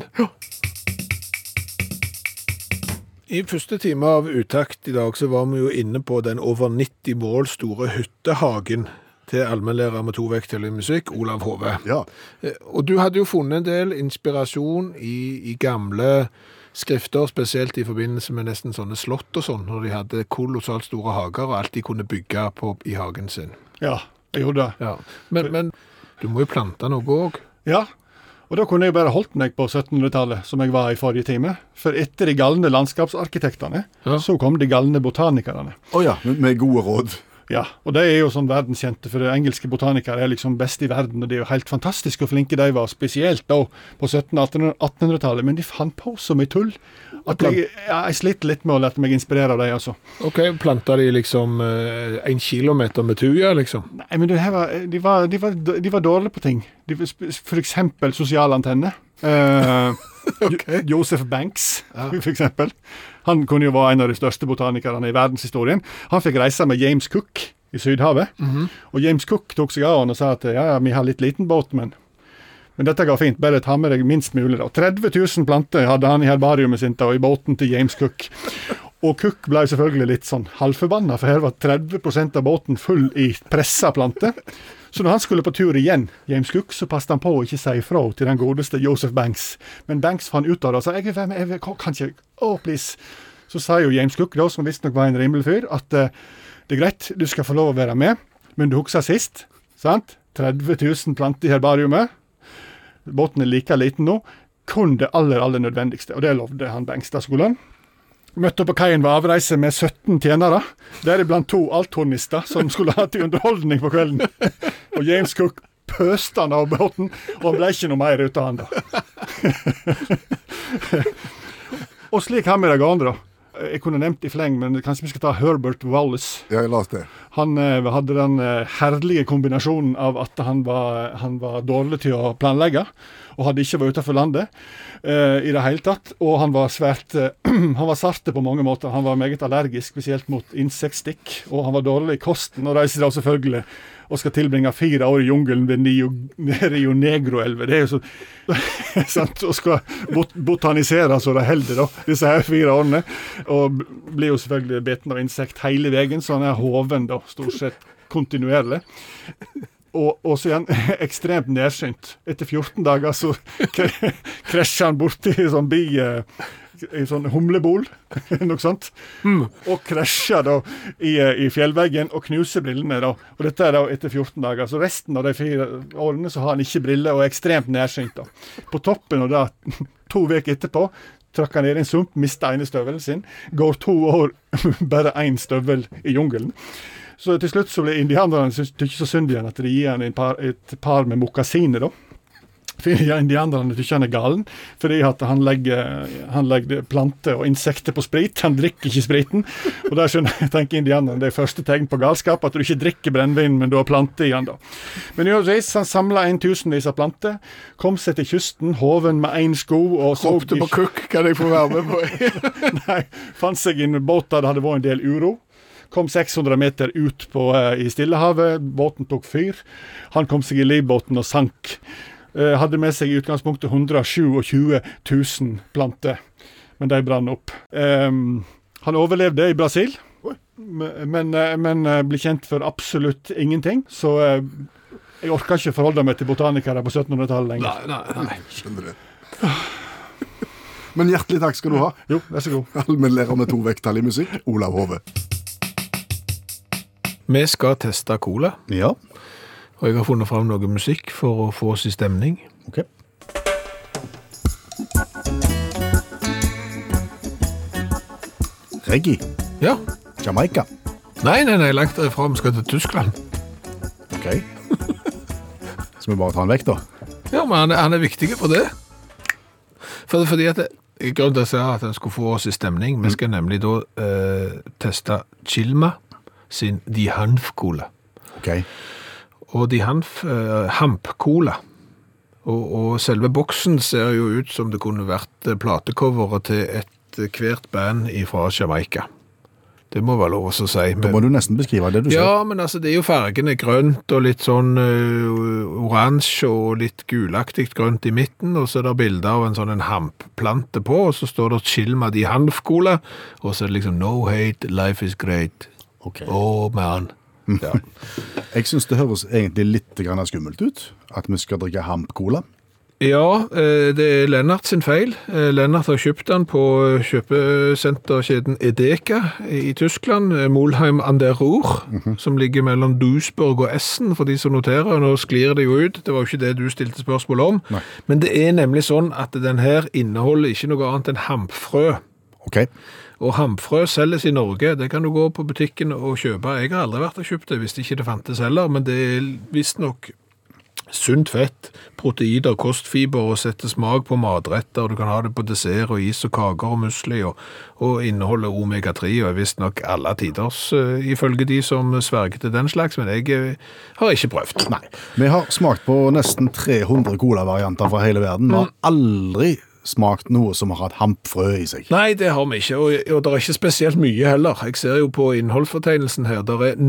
[SPEAKER 2] I første time av Utakt i dag så var vi jo inne på den over 90 mål store hyttehagen til allmennlærer med to vekttall i musikk, Olav Hove.
[SPEAKER 3] Ja.
[SPEAKER 2] Eh, Og du hadde jo funnet en del inspirasjon i, i gamle skrifter, spesielt i forbindelse med nesten sånne slott og sånn, når de hadde kolossalt store hager og alt de kunne bygge på i hagen sin.
[SPEAKER 5] Ja, jeg gjorde det.
[SPEAKER 2] Ja. Men, men du må jo plante noe òg.
[SPEAKER 5] Ja, og da kunne jeg bare holdt meg på 1700-tallet, som jeg var i forrige time. For etter de galne landskapsarkitektene,
[SPEAKER 2] Ja.
[SPEAKER 5] så kom de galne botanikerne.
[SPEAKER 3] Å ja, med- med gode råd.
[SPEAKER 5] Ja, og de er jo sånn verdenskjente, for engelske botanikere er liksom best i verden, og de er jo helt fantastiske hvor flinke de var, spesielt da på 1700-1800-tallet. Men de fant på så mye tull at jeg, ja, jeg slitt litt med å lette meg inspirere av dem, altså.
[SPEAKER 2] OK, planta de liksom eh, en kilometer med tuja, liksom?
[SPEAKER 5] Nei, men det her var, eh, de, var, de, var, de var dårlige på ting. De, var sp- for eksempel sosial antenne. Eh, Jo- Joseph Banks, [laughs] for eksempel. Han kunne jo være en av de største botanikerne i verdenshistorien. Han fikk reise med James Cook i Sydhavet. Og James Cook tok seg av han og sa at ja, ja, vi har litt liten båt, men men dette går fint, bare ta med deg minst mulig. da. 30 000 planter hadde han i herbariumet sitt da, og i båten til James Cook. Og Cook ble selvfølgelig litt sånn halvforbanna, for her var 30 av båten full i pressa planter. Så når han skulle på tur igjen, James Cook, så passet han på å ikke si ifra til den godeste Joseph Banks. Men Banks fant ut av det og sa jeg vil være med, jeg vil, kan ikke, oh please. Så sa jo James Cook, da, som visstnok var en rimelig fyr, at eh, det er greit, du skal få lov å være med, men du husker sist, sant? 30 000 planter i herbariumet. Båten er like liten nå. Kun det aller, aller nødvendigste, og det lovde han Bengstad skolen. Møtte opp på kaien ved avreise med 17 tjenere, deriblant to althornister som skulle ha til underholdning på kvelden. Og James Cook pøste han av båten, og han ble ikke noe mer ut av han da. og slik har vi det gående, da. Jeg kunne nevnt i fleng, men kanskje vi skal ta Herbert Wallace.
[SPEAKER 3] Ja, la oss det.
[SPEAKER 5] Han eh, hadde den eh, herlige kombinasjonen av at han var, han var dårlig til å planlegge, og hadde ikke vært utenfor landet eh, i det hele tatt. Og han var svært eh, [clears throat] Han var sarte på mange måter. Han var meget allergisk, spesielt mot insektstikk, og han var dårlig i kosten, og reiser da selvfølgelig og skal tilbringe fire år i jungelen ved Nio, Rio Negro-elva. Det er jo så [laughs] sant? Og skal bot botanisere så det holder, da, disse her fire årene. Og b- blir jo selvfølgelig beten av insekt hele veien, så han er hoven da, stort sett kontinuerlig. Og, og så er han [laughs] ekstremt nærsynt. Etter 14 dager så kre- krasjer han borti en sånn bi... eh, En sånn humlebol, [laughs] noe sånt. Og krasjer da i, eh, i fjellveggen og knuser brillene. da. Og dette er da etter 14 dager. Så resten av de fire årene så har han ikke briller og er ekstremt nærsynt. da. På toppen av det, [laughs] to uker etterpå, trakk han ned i en [laughs] sump, mista ene støvelen sin. Går to år, bare én støvel i jungelen. Så til slutt så ble indianerne syntes det ikke så synd i han at de gir han en par, et par med mokasiner, da. [laughs] For ja, Indianerne syns han er galen fordi at han legger, han legger planter og insekter på sprit. Han drikker ikke spriten. Og der skjønner jeg, tenker indianerne det er første tegn på galskap, at du ikke drikker brennevin, men du har planter i han da. Men uansett, han samla tusenvis av planter, kom seg til kysten, hoven med én sko og så
[SPEAKER 2] Ropte på kukk, kan jeg få være med
[SPEAKER 3] [laughs]
[SPEAKER 2] på?
[SPEAKER 5] Nei, fant seg en båt der det hadde vært en del uro. Kom 600 meter ut på, eh, i Stillehavet, båten tok fyr. Han kom seg i livbåten og sank. Eh, hadde med seg i utgangspunktet 127 000 planter, men de brant opp. Ehm, han overlevde i Brasil, men, men, eh, men eh, ble kjent for absolutt ingenting. Så eh, jeg orker ikke forholde meg til botanikere på 1700-tallet lenger.
[SPEAKER 2] Nei, nei, nei.
[SPEAKER 3] Skjønner det. Men hjertelig takk skal du ha,
[SPEAKER 5] Jo, vær så god.
[SPEAKER 3] allmennlærer med to vekttall i musikk, Olav Hove.
[SPEAKER 2] Vi skal teste cola,
[SPEAKER 3] Ja,
[SPEAKER 2] og jeg har funnet fram noe musikk for å få oss i stemning.
[SPEAKER 3] ok. Reggae,
[SPEAKER 2] Ja.
[SPEAKER 3] Jamaica.
[SPEAKER 2] Nei, nei, nei, langt derfra. Vi skal til Tyskland.
[SPEAKER 3] Ok. Skal vi bare ta den vekk, da?
[SPEAKER 2] Ja, men han er, han er viktig for det. For, fordi at det, Grunnen til at jeg sa at han skulle få oss i stemning, vi skal nemlig da eh, teste Chilma sin De Hanf-cola.
[SPEAKER 3] Ok.
[SPEAKER 2] Og De Hanf eh, Hamp-cola. Og, og selve boksen ser jo ut som det kunne vært eh, platecoveret til et eh, hvert band fra Jamaica. Det må være lov å si.
[SPEAKER 3] Da
[SPEAKER 2] men-
[SPEAKER 3] må du nesten beskrive det du ser.
[SPEAKER 2] Ja, men altså, det er jo fargene grønt og litt sånn ø, oransje og litt gulaktig grønt i midten, og så er det bilder av en sånn en hampplante på, og så står det Chilma di Hanfkola, og så er det liksom No hate, life is great.
[SPEAKER 3] Ok.
[SPEAKER 2] Oh man. Ja.
[SPEAKER 3] Jeg syns det høres egentlig litt grann skummelt ut at vi skal drikke hamp-cola.
[SPEAKER 2] Ja, eh, det er Lennart sin feil. Eh, Lennart har kjøpt den på eh, kjøpesenterkjeden Edeka i Tyskland. eh, Molheim an der Ruhr, som ligger mellom Duisburg og Essen, for de som noterer. og Nå sklir det jo ut, det var jo ikke det du stilte spørsmål om.
[SPEAKER 3] Nei.
[SPEAKER 2] Men det er nemlig sånn at den her inneholder ikke noe annet enn hampfrø.
[SPEAKER 3] Ok.
[SPEAKER 2] Og hampfrø selges i Norge. Det kan du gå på butikken og kjøpe. Jeg har aldri vært og kjøpt det hvis det ikke det fantes heller, men det er visstnok sunt fett, proteiner, kostfiber og setter smak på matretter. og Du kan ha det på dessert og is og kaker og musli, og, og inneholder omega-3 og er visstnok alle tiders, eh, ifølge de som sverger til den slags, men jeg eh, har ikke prøvd. Nei.
[SPEAKER 3] Vi har smakt på nesten 300 colavarianter fra hele verden. Vi har aldri smakt noe som har hatt hampfrø i seg.
[SPEAKER 2] Nei, det har vi ikke, og, og det er ikke spesielt mye heller. Jeg ser jo på innholdsfortegnelsen her, det er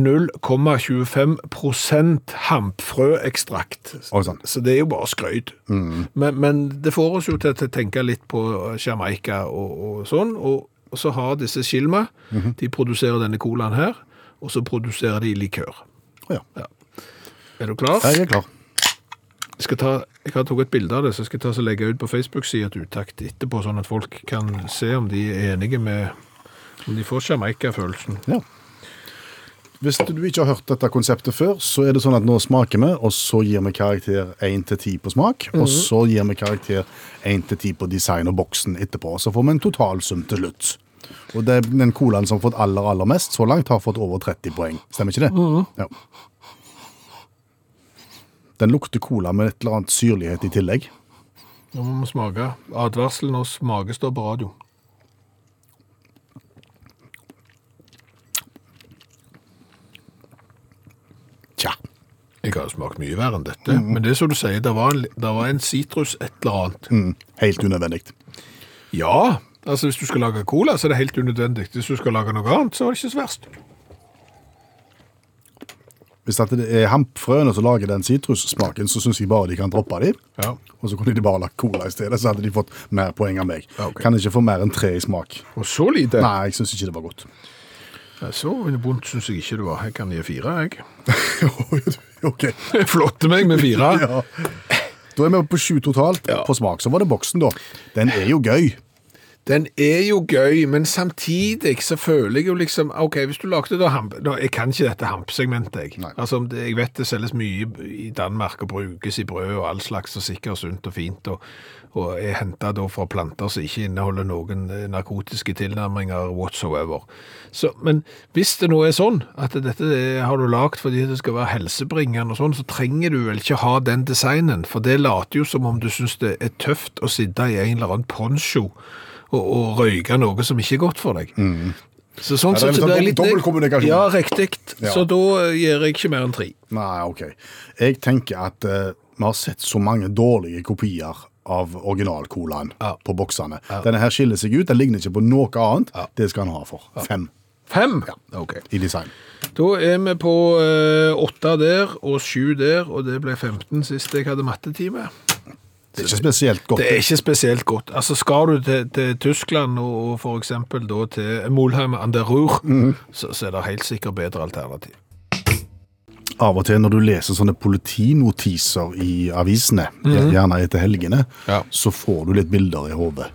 [SPEAKER 2] 0,25 hampfrøekstrakt.
[SPEAKER 3] Oi, sant. Mm.
[SPEAKER 2] Så det er jo bare skrøyd. Men, men det får oss jo til til å tenke litt på Jamaica og, og sånn, og, og så har disse Skilma,
[SPEAKER 3] Mhm.
[SPEAKER 2] de produserer denne colaen her, og så produserer de likør.
[SPEAKER 3] Å ja.
[SPEAKER 2] Er du klar?
[SPEAKER 3] Jeg er klar.
[SPEAKER 2] Jeg, skal ta, jeg har tatt et bilde av det, så jeg skal ta og legge ut på Facebook-sida til utakt etterpå, sånn at folk kan se om de er enige med om de får Jamaica-følelsen.
[SPEAKER 3] Ja. Hvis du ikke har hørt dette konseptet før, så er det sånn at nå smaker vi, og så gir vi karakter 1 til 10 på smak, og så gir vi karakter 1 til 10 på design og boksen etterpå. Så får vi en totalsum til slutt. Og det er den colaen som har fått aller, aller mest så langt, har fått over 30 poeng. Stemmer ikke det? Ja. Den lukter cola med et eller annet syrlighet i tillegg.
[SPEAKER 2] Nå må vi smake. Advarselen og smake står på radio.
[SPEAKER 3] Tja.
[SPEAKER 2] Jeg har jo smakt mye verre enn dette, men det er som du sier, det var, en- det var en sitrus et eller annet.
[SPEAKER 3] Mm. Helt unødvendig.
[SPEAKER 2] Ja, altså hvis du skal lage cola, så er det helt unødvendig. Hvis du skal lage noe annet, så er det ikke så verst.
[SPEAKER 3] Hvis at det er hampfrøene som lager den sitrussmaken, så syns jeg bare de kan droppe dem.
[SPEAKER 2] Ja.
[SPEAKER 3] Og så kunne de bare lagt cola i stedet, så hadde de fått mer poeng enn meg.
[SPEAKER 2] Ja, ok.
[SPEAKER 3] Kan ikke få mer enn tre
[SPEAKER 2] [laughs]
[SPEAKER 3] i smak.
[SPEAKER 2] Og så lite.
[SPEAKER 3] Nei, jeg syns ikke det var godt.
[SPEAKER 2] Så vondt syns jeg ikke det var. Jeg kan gi fire, jeg. [laughs]
[SPEAKER 3] ok.
[SPEAKER 2] Jeg flotte meg med fire.
[SPEAKER 3] [laughs] Ja. Da er vi oppe på sju totalt.
[SPEAKER 2] Ja.
[SPEAKER 3] På smak så var det boksen, da. Den er jo gøy.
[SPEAKER 2] den er jo gøy, men samtidig så føler jeg jo liksom OK, hvis du lagde da hamp... Nå, jeg kan ikke dette hampsegmentet, jeg.
[SPEAKER 3] Nei.
[SPEAKER 2] Altså, om det- jeg vet det selges mye i Danmark og brukes i brød og all slags og sikkert sunt og fint, og, og er henta da fra planter som ikke inneholder noen eh, narkotiske tilnærminger whatsoever. Så, men hvis det nå er sånn at dette er- har du lagd fordi det skal være helsebringende og sånn, så trenger du vel ikke ha den designen, for det later jo som om du syns det er tøft å sitte i en eller annen poncho og, og røyke noe som ikke er godt for deg. Så sånn
[SPEAKER 3] Mm. Ja, det er
[SPEAKER 2] sett så det
[SPEAKER 3] litt
[SPEAKER 2] er
[SPEAKER 3] sånn
[SPEAKER 2] litt
[SPEAKER 3] dobbeltkommunikasjon.
[SPEAKER 2] Ja, riktig.
[SPEAKER 3] Ja.
[SPEAKER 2] Så da eh, gir jeg ikke mer enn tre.
[SPEAKER 3] Nei, OK. Jeg tenker at eh, vi har sett så mange dårlige kopier av originalcolaen
[SPEAKER 2] Ja.
[SPEAKER 3] på boksene. Denne her skiller seg ut. Den ligner ikke på noe annet. Det skal han ha for. Fem
[SPEAKER 2] Fem? Ok.
[SPEAKER 3] i design.
[SPEAKER 2] Da er vi på eh, åtte der og sju der, og det ble 15 sist jeg hadde mattetime.
[SPEAKER 3] Det er ikke spesielt godt.
[SPEAKER 2] Det er ikke spesielt godt. Altså, skal du til, til Tyskland og, og for eksempel da til Molheim an der Ruhr,
[SPEAKER 3] Mm.
[SPEAKER 2] så, så er det helt sikkert bedre alternativ.
[SPEAKER 3] Av og til når du leser sånne politinotiser i avisene, gjerne etter helgene,
[SPEAKER 2] Mhm. Ja.
[SPEAKER 3] så får du litt bilder i hodet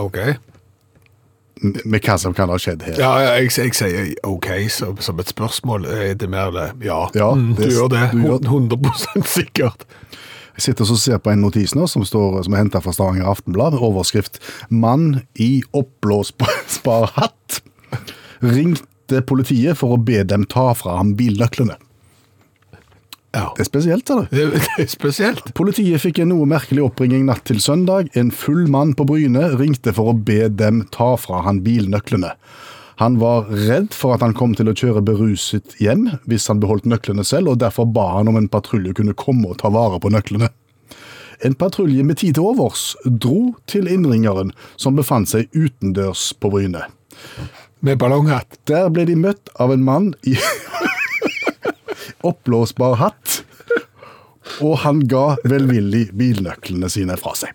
[SPEAKER 2] Ok.
[SPEAKER 3] m- med hva som kan ha skjedd her.
[SPEAKER 2] Ja, ja, jeg, jeg sier ok som, som et spørsmål. Er det mer det? Ja,
[SPEAKER 3] Ja,
[SPEAKER 2] Mm,
[SPEAKER 3] det-
[SPEAKER 2] du gjør det.
[SPEAKER 3] du gjør-
[SPEAKER 2] 100 sikkert.
[SPEAKER 3] Jeg sitter og ser på en notis nå som, står, som er henta fra Stavanger Aftenblad, med overskrift 'Mann i oppblåsbar hatt ringte politiet for å be dem ta fra ham bilnøklene'.
[SPEAKER 2] Ja.
[SPEAKER 3] Det er spesielt, sa du.
[SPEAKER 2] Det, det er spesielt.
[SPEAKER 3] Politiet fikk en noe merkelig oppringning natt til søndag. En full mann på Bryne ringte for å be dem ta fra han bilnøklene. Han var redd for at han kom til å kjøre beruset hjem hvis han beholdt nøklene selv, og derfor ba han om en patrulje kunne komme og ta vare på nøklene. En patrulje med tid til overs dro til innringeren, som befant seg utendørs på Bryne.
[SPEAKER 2] Med
[SPEAKER 3] [laughs]
[SPEAKER 2] ballonghatt.
[SPEAKER 3] Der ble de møtt av en mann i [laughs] oppblåsbar hatt. Og han ga velvillig bilnøklene sine fra seg.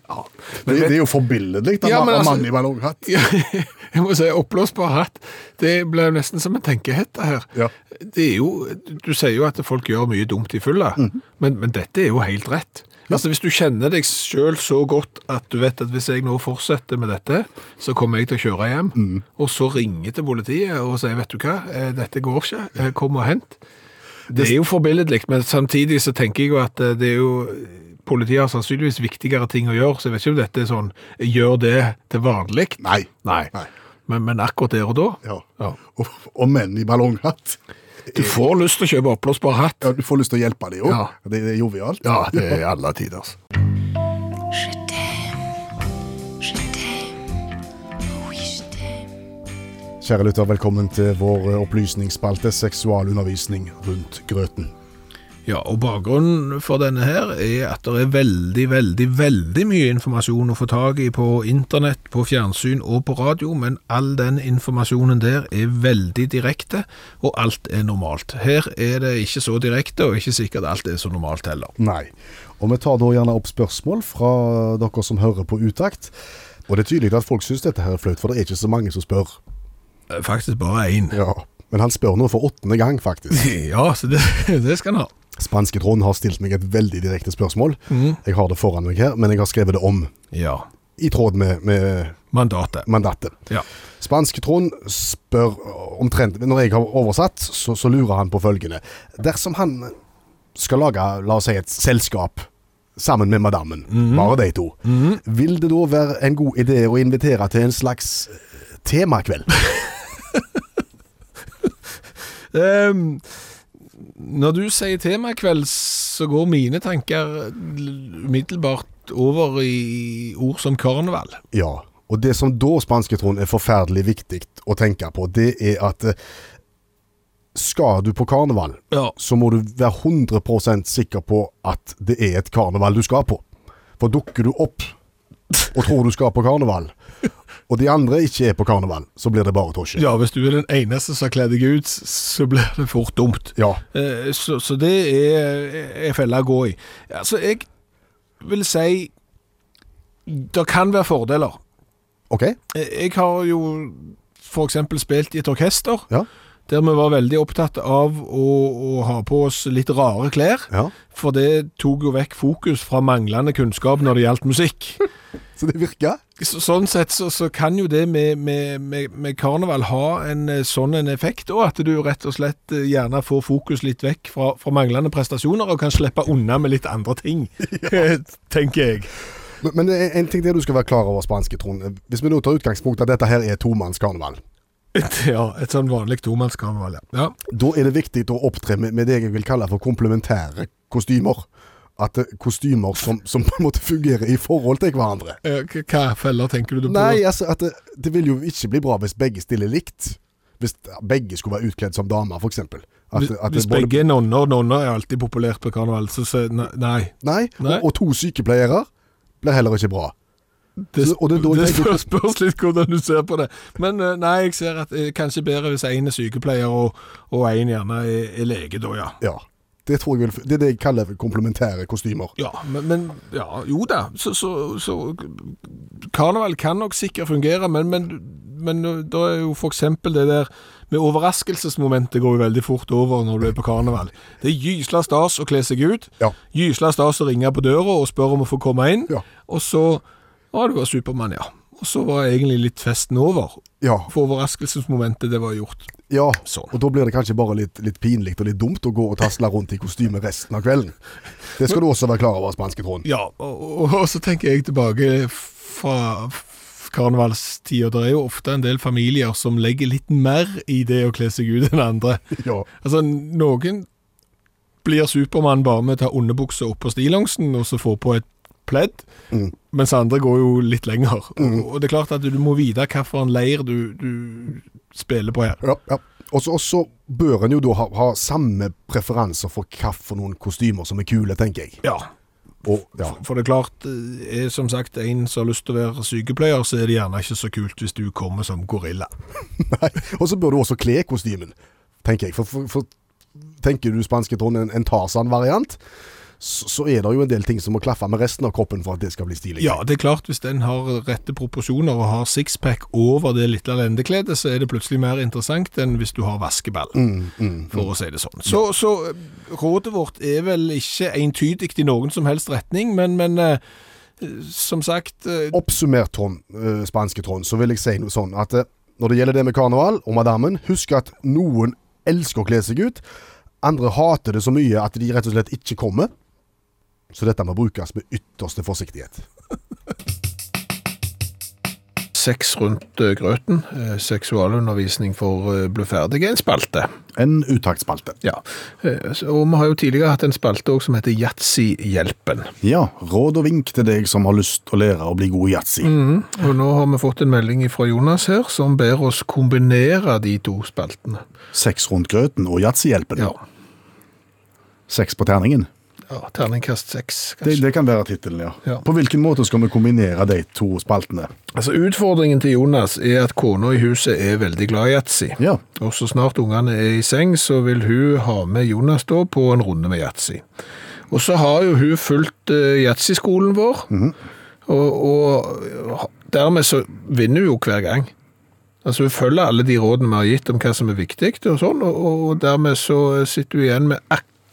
[SPEAKER 3] Det, det er jo forbilledlig, da.
[SPEAKER 2] Ja, men
[SPEAKER 3] en
[SPEAKER 2] altså-
[SPEAKER 3] mann i ballonghatt.
[SPEAKER 2] Ja, jeg må si oppblåsbar hatt. Det ble jo nesten som en tenkehette her.
[SPEAKER 3] Ja.
[SPEAKER 2] Det er jo, du sier jo at folk gjør mye dumt i fylla,
[SPEAKER 3] Mhm.
[SPEAKER 2] men, men dette er jo helt rett. Altså Hvis du kjenner deg sjøl så godt at du vet at hvis jeg nå fortsetter med dette, så kommer jeg til å kjøre hjem,
[SPEAKER 3] Mhm.
[SPEAKER 2] og så ringer til politiet og sier vet du hva, eh, dette går ikke, eh, kom og hent. Det er jo forbilledlig, men samtidig så tenker jeg jo at eh, det er jo Politiet har sannsynligvis viktigere ting å gjøre, så jeg vet ikke om dette er sånn gjør det til vanlig.
[SPEAKER 3] Nei.
[SPEAKER 2] Nei.
[SPEAKER 3] Nei.
[SPEAKER 2] Men, men akkurat der og da
[SPEAKER 3] Ja.
[SPEAKER 2] Ja.
[SPEAKER 3] Og, og menn i ballonghatt.
[SPEAKER 2] Du får lyst til å kjøpe oppblåsbar hatt.
[SPEAKER 3] Ja, du får lyst til å hjelpe dem òg.
[SPEAKER 2] Ja.
[SPEAKER 3] Det, det er jovialt.
[SPEAKER 2] Ja, det
[SPEAKER 3] [laughs]
[SPEAKER 2] er i alle altså. tiders.
[SPEAKER 6] Je t'aime, je t'aime, oui je t'aime.
[SPEAKER 3] Kjære lytter, velkommen til vår eh, opplysningsspalte Seksualundervisning rundt grøten.
[SPEAKER 2] Ja, og Bakgrunnen for denne her er at det er veldig veldig, veldig mye informasjon å få tak i på internett, på fjernsyn og på radio, men all den informasjonen der er veldig direkte, og alt er normalt. Her er det ikke så direkte, og ikke sikkert alt er så normalt heller.
[SPEAKER 3] Nei. Og vi tar da gjerne opp spørsmål fra dere som hører på Utakt. Og det er tydelig at folk syns dette her er flaut, for det er ikke så mange som spør.
[SPEAKER 2] Eh, Faktisk bare én.
[SPEAKER 3] Ja. Men han spør nå for åttende gang, faktisk.
[SPEAKER 2] [laughs] Ja, så det, [laughs] det skal en ha.
[SPEAKER 3] Spanske Trond har stilt meg et veldig direkte spørsmål. Jeg har det foran meg her, men jeg har skrevet det om.
[SPEAKER 2] Ja.
[SPEAKER 3] I tråd med, med
[SPEAKER 2] Mandatet.
[SPEAKER 3] mandatet.
[SPEAKER 2] Ja.
[SPEAKER 3] Spanske Trond spør omtrent Når jeg har oversatt, så, så lurer han på følgende. Dersom han skal lage, la oss si, et selskap sammen med madammen, bare de to, vil det da være en god idé å invitere til en slags eh, temakveld?
[SPEAKER 2] Ehm, når du sier temakveld, så går mine tanker l- umiddelbart over i ord som karneval.
[SPEAKER 3] ja. Og det som da, Spanske Trond, er forferdelig viktig å tenke på, det er at eh, skal du på karneval,
[SPEAKER 2] Ja.
[SPEAKER 3] så må du være 100 sikker på at det er et karneval du skal på. For dukker du opp og tror du skal på karneval, og de andre ikke er på karneval, så blir det bare tosje.
[SPEAKER 2] ja, hvis du er den eneste som har kledd deg ut, så blir det fort dumt.
[SPEAKER 3] Ja.
[SPEAKER 2] Eh, Så, så det er en felle å gå i. Altså, jeg vil si det kan være fordeler.
[SPEAKER 3] OK?
[SPEAKER 2] Eh, Jeg har jo f.eks. spilt i et orkester,
[SPEAKER 3] Ja.
[SPEAKER 2] der vi var veldig opptatt av å, å ha på oss litt rare klær.
[SPEAKER 3] ja.
[SPEAKER 2] For det tok jo vekk fokus fra manglende kunnskap når det gjaldt musikk.
[SPEAKER 3] Så det virka?
[SPEAKER 2] Så, sånn sett så, så kan jo det med, med, med, med karneval ha en eh, sånn en effekt, og at du rett og slett eh, gjerne får fokus litt vekk fra, fra manglende prestasjoner, og kan slippe unna med litt andre ting, [laughs] tenker jeg.
[SPEAKER 7] Men, men det er en ting det du skal være klar over, spanske Trond. Hvis vi nå tar utgangspunkt i at dette her er tomannskarneval,
[SPEAKER 2] Ja, et sånn vanlig tomannskarneval, ja. ja.
[SPEAKER 7] da er det viktig å opptre med, med det jeg vil kalle for komplementære kostymer. At eh, kostymer som, som på en måte fungerer i forhold til hverandre.
[SPEAKER 2] Eh, k- Hva feller tenker du på?
[SPEAKER 7] Nei, altså at det, det vil jo ikke bli bra hvis begge stiller likt. Hvis begge skulle være utkledd som damer, f.eks.
[SPEAKER 2] Hvis- Hvis begge er nonner, nonner er alltid populært på karneval, så, så ne- nei.
[SPEAKER 7] Nei,
[SPEAKER 2] Nei.
[SPEAKER 7] Og, og to sykepleiere blir heller ikke bra.
[SPEAKER 2] Det,
[SPEAKER 7] Så- og det er da
[SPEAKER 2] det
[SPEAKER 7] jeg tenker-
[SPEAKER 2] spørs, spørs litt hvordan du ser på det. Men eh, nei, jeg ser at eh, kanskje bedre hvis én er sykepleier og, og én gjerne er, er lege, da, ja.
[SPEAKER 7] Ja. Det, tror jeg vil, det er det jeg kaller komplementære kostymer.
[SPEAKER 2] Ja, men, men ja, jo da. Så, så, så karneval kan nok sikkert fungere, men, men, men eh, da er jo f.eks. det der med overraskelsesmomentet går jo veldig fort over når du er på karneval. Det er gysla stas å kle seg ut.
[SPEAKER 7] Ja.
[SPEAKER 2] Gysla stas å ringe på døra og spørre om å få komme inn.
[SPEAKER 7] Ja.
[SPEAKER 2] Og så Ja, du var Supermann, ja. Og så var egentlig litt festen over.
[SPEAKER 7] Ja.
[SPEAKER 2] For overraskelsesmomentet, det var gjort.
[SPEAKER 7] ja.
[SPEAKER 2] Sånn.
[SPEAKER 7] Og da blir det kanskje bare litt, litt pinlig og litt dumt å gå og tasle rundt i kostyme resten av kvelden. Det skal du også være klar over, spanske Trond.
[SPEAKER 2] Ja, og, og, og så tenker jeg tilbake fra f- karnevalstida. Det er jo ofte en del familier som legger litt mer i det å kle seg ut enn andre.
[SPEAKER 7] Ja.
[SPEAKER 2] Altså, noen blir Supermann bare med å ta underbuksa opp på stillongsen og så få på et pledd,
[SPEAKER 7] Mm.
[SPEAKER 2] mens andre går jo litt lenger. Og, og det er klart at du må vite hvilken leir du, du spiller på her.
[SPEAKER 7] Ja, ja. Og så- Og så bør en jo da ha, ha samme preferanser for hva for noen kostymer som er kule, tenker jeg.
[SPEAKER 2] Ja,
[SPEAKER 7] Og, ja.
[SPEAKER 2] for det er klart, eh, er som sagt en som har lyst til å være sykepleier, så er det gjerne ikke så kult hvis du kommer som gorilla.
[SPEAKER 7] Nei. [laughs] Og så bør du også kle kostymen, tenker jeg. For, for, for tenker du spanske Trond en, en Tarzan-variant, så, så er det jo en del ting som må klaffe med resten av kroppen for at det skal bli stilig.
[SPEAKER 2] Ja, det er klart hvis den har rette proporsjoner og har sixpack over det lille lendekledet, så er det plutselig mer interessant enn hvis du har vaskeball, for å si det sånn. Så, så eh, rådet vårt er vel ikke entydig i noen som helst retning, men, men eh, eh, som sagt eh,
[SPEAKER 7] Oppsummert, Trond, eh, spanske Trond, så vil jeg si noe sånn at eh, når det gjelder det med karneval og madammen, husk at noen elsker å kle seg ut. Andre hater det så mye at de rett og slett ikke kommer. Så dette må brukes med ytterste forsiktighet.
[SPEAKER 2] Sex rundt eh, grøten, eh, seksualundervisning for eh, bluferdige, en spalte.
[SPEAKER 3] En uttaktspalte.
[SPEAKER 2] Ja. Eh, så- Og vi har jo tidligere hatt en spalte også som heter Yatzy-hjelpen.
[SPEAKER 3] Ja, råd og vink til deg som har lyst til å lære å bli god i yatzy.
[SPEAKER 2] Og nå har vi fått en melding fra Jonas her, som ber oss kombinere de to spaltene.
[SPEAKER 3] Seks rundt grøten og yatzyhjelpen.
[SPEAKER 2] Ja,
[SPEAKER 3] Seks på terningen.
[SPEAKER 2] ja terningkast seks,
[SPEAKER 3] Det,
[SPEAKER 2] kanskje.
[SPEAKER 3] det kan være tittelen, ja.
[SPEAKER 2] Ja.
[SPEAKER 3] På hvilken måte skal vi kombinere de to spaltene?
[SPEAKER 2] Altså, utfordringen til Jonas er at kona i huset er veldig glad i yatzy.
[SPEAKER 3] Ja.
[SPEAKER 2] Og så snart ungene er i seng, så vil hun ha med Jonas da på en runde med yatzy. Og så har jo hun fulgt eh, yatzy-skolen vår,
[SPEAKER 3] Mhm.
[SPEAKER 2] og, og dermed så vinner hun jo hver gang. Altså Hun følger alle de rådene vi har gitt om hva som er viktig, og sånn, og, og dermed så eh, sitter hun igjen med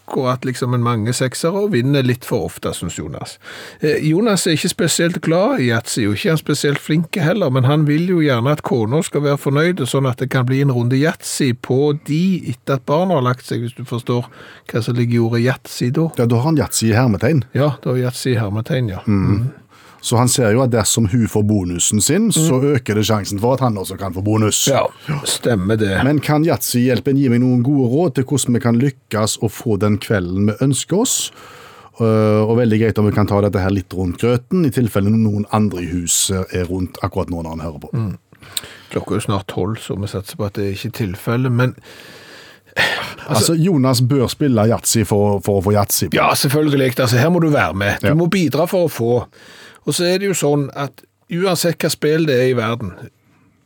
[SPEAKER 2] akkurat liksom en mange seksere og vinner litt for ofte, syns Jonas. Eh, Jonas er ikke spesielt glad i yatzy, og ikke er han spesielt flink heller, men han vil jo gjerne at kona skal være fornøyd, sånn at det kan bli en runde yatzy på de etter at barna har lagt seg, hvis du forstår hva som ligger i ordet yatzy da.
[SPEAKER 3] Ja, da har han yatzy i hermetegn.
[SPEAKER 2] Ja, da er Yatzy hermetegn, ja.
[SPEAKER 3] Så han ser jo at dersom hun får bonusen sin, så øker det sjansen for at han også kan få bonus.
[SPEAKER 2] Mm. Ja, stemmer det.
[SPEAKER 3] Men kan Yatzy-hjelpen gi meg noen gode råd til hvordan vi kan lykkes å få den kvelden vi ønsker oss? Eh, og veldig greit om vi kan ta dette her litt rundt grøten, i tilfelle noen andre i huset er rundt akkurat nå når han hører på.
[SPEAKER 2] Mm. Klokka er jo snart tolv, så vi satser på at det ikke er tilfelle, men
[SPEAKER 3] Altså, Jonas bør spille Yatzy for, å- for å få Yatzy.
[SPEAKER 2] ja, selvfølgelig. Altså, her må du være med. Du må bidra for å få. Og så er det jo sånn at uansett hva spill det er i verden,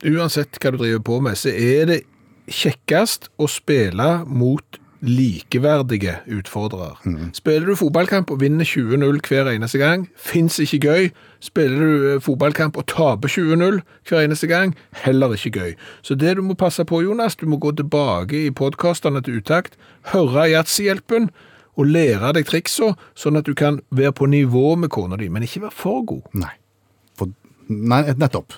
[SPEAKER 2] uansett hva du driver på med, så er det kjekkest å spille mot likeverdige utfordrere. Spiller du fotballkamp og vinner 20-0 hver eneste gang, fins ikke gøy. Spiller du eh, fotballkamp og taper 20-0 hver eneste gang, heller ikke gøy. Så det du må passe på, Jonas, du må gå tilbake i podkastene til Utakt, høre Yatzy-hjelpen og lære deg triksa, sånn at du kan være på nivå med kona di, men ikke være for god.
[SPEAKER 3] Nei, for
[SPEAKER 7] Nei, et- nettopp.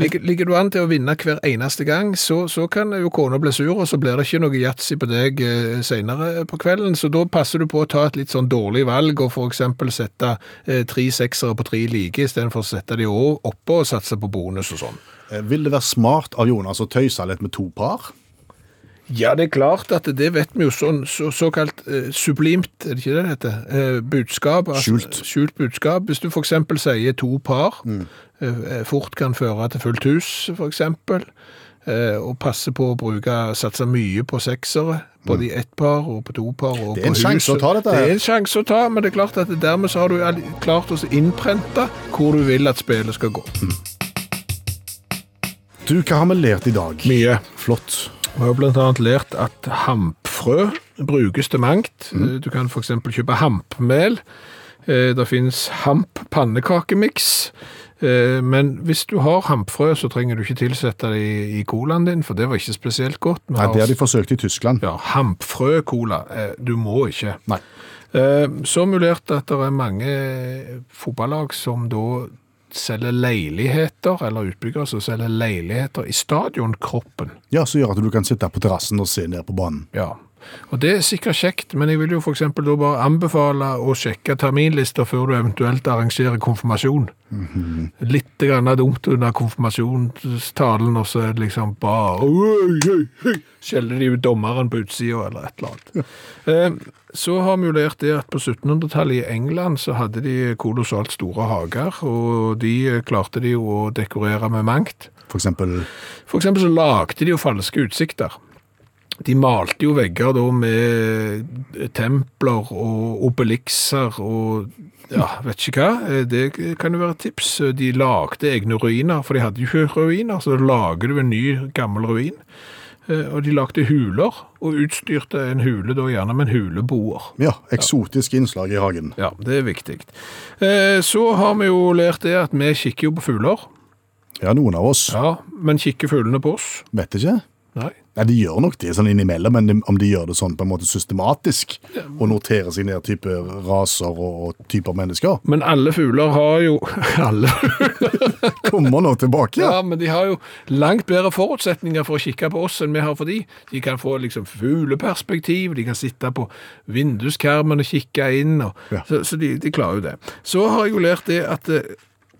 [SPEAKER 2] Ligger, ligger du an til å vinne hver eneste gang, så, så kan jo kona bli sur, og så blir det ikke noe yatzy på deg eh, senere på kvelden. Så da passer du på å ta et litt sånn dårlig valg, og for eksempel sette eh, tre seksere på tre like, istedenfor å sette de o- oppå og satse på bonus og sånn.
[SPEAKER 7] Eh, Vil det være smart av Jonas å tøyse litt med to par?
[SPEAKER 2] Ja, det er klart at det vet vi jo sånn så, såkalt eh, sublimt, er det ikke det det heter? Eh, budskap. altså,
[SPEAKER 7] Skjult. Mm.
[SPEAKER 2] Skjult budskap. Hvis du for eksempel sier to par, eh, fort kan føre til fullt hus, for eksempel, eh, og passe på å bruke, satse mye på seksere, både i ett par og på to par og på huset.
[SPEAKER 7] Mm. Det er en sjanse å ta dette her.
[SPEAKER 2] Det er en sjanse å ta, men det er klart at dermed så har du all- klart å innprente hvor du vil at spillet skal
[SPEAKER 7] [laughs]
[SPEAKER 2] gå.
[SPEAKER 7] Du, hva har vi lært i dag?
[SPEAKER 2] Mye.
[SPEAKER 7] Flott.
[SPEAKER 2] Vi har blant annet lært at hampfrø brukes til mangt.
[SPEAKER 7] Mm.
[SPEAKER 2] Eh, Du kan for eksempel kjøpe hampmel. Eh, Det finnes hamp-pannekakemiks. Eh, Men hvis du har hampfrø, så trenger du ikke tilsette det i- i colaen din, for det var ikke spesielt godt. Vi
[SPEAKER 7] Nei,
[SPEAKER 2] har-
[SPEAKER 7] det har de forsøkt i Tyskland.
[SPEAKER 2] ja, hampfrø-cola. Eh, Du må ikke.
[SPEAKER 7] Nei.
[SPEAKER 2] Eh, Så mulert at det er mange fotballag som da selger leiligheter, eller utbyggere som selger leiligheter i stadionkroppen.
[SPEAKER 7] Ja, Som gjør at du kan sitte på terrassen og se ned på banen.
[SPEAKER 2] Ja, og det er sikkert kjekt, men jeg vil jo for eksempel da bare anbefale å sjekke terminlister før du eventuelt arrangerer konfirmasjon. Litt grann dumt under konfirmasjonstalen, og så er det liksom bare «Oi, oi, oi», skjeller de ut dommeren på utsida eller et eller annet. Eh, Så har vi jo lært det at på 1700-tallet i England så hadde de kolossalt store hager, og de eh, klarte de jo å dekorere med mangt.
[SPEAKER 7] For eksempel
[SPEAKER 2] For eksempel så lagde de jo falske utsikter. De malte jo vegger da med templer og obelikser og ja, vet ikke hva. Det kan jo være et tips. De lagde egne ruiner, for de hadde jo ikke ruiner, så da lager du en ny gammel ruin. Eh, Og de lagde huler, og utstyrte en hule da gjerne med en huleboer.
[SPEAKER 7] ja, eksotiske innslag i hagen.
[SPEAKER 2] Ja, det er viktig. Eh, Så har vi jo lært det at vi kikker jo på fugler.
[SPEAKER 7] Ja, noen av oss.
[SPEAKER 2] Ja, men kikker fuglene på oss?
[SPEAKER 7] Vet ikke.
[SPEAKER 2] Nei.
[SPEAKER 7] Nei, De gjør nok det sånn innimellom, men de- om de gjør det sånn på en måte systematisk, og noterer seg ned type raser og, og typer mennesker,
[SPEAKER 2] Men alle fugler har jo [laughs] Alle?
[SPEAKER 7] kommer nå tilbake.
[SPEAKER 2] Ja, men de har jo langt bedre forutsetninger for å kikke på oss enn vi har for de. De kan få liksom fugleperspektiv, de kan sitte på vinduskarmen og kikke inn, og,
[SPEAKER 7] Ja.
[SPEAKER 2] så, så de, de klarer jo det. Så har jeg jo lært det at eh,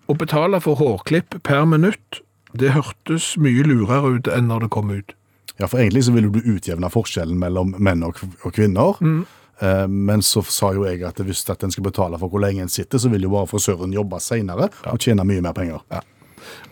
[SPEAKER 2] å betale for hårklipp per minutt, det hørtes mye lurere ut enn når det kom ut.
[SPEAKER 7] Ja, for egentlig så ville du utjevne forskjellen mellom menn og, og kvinner. Eh, Men så sa jo jeg at hvis at en skal betale for hvor lenge en sitter, så vil jo bare frisøren jobbe senere og tjene mye mer penger.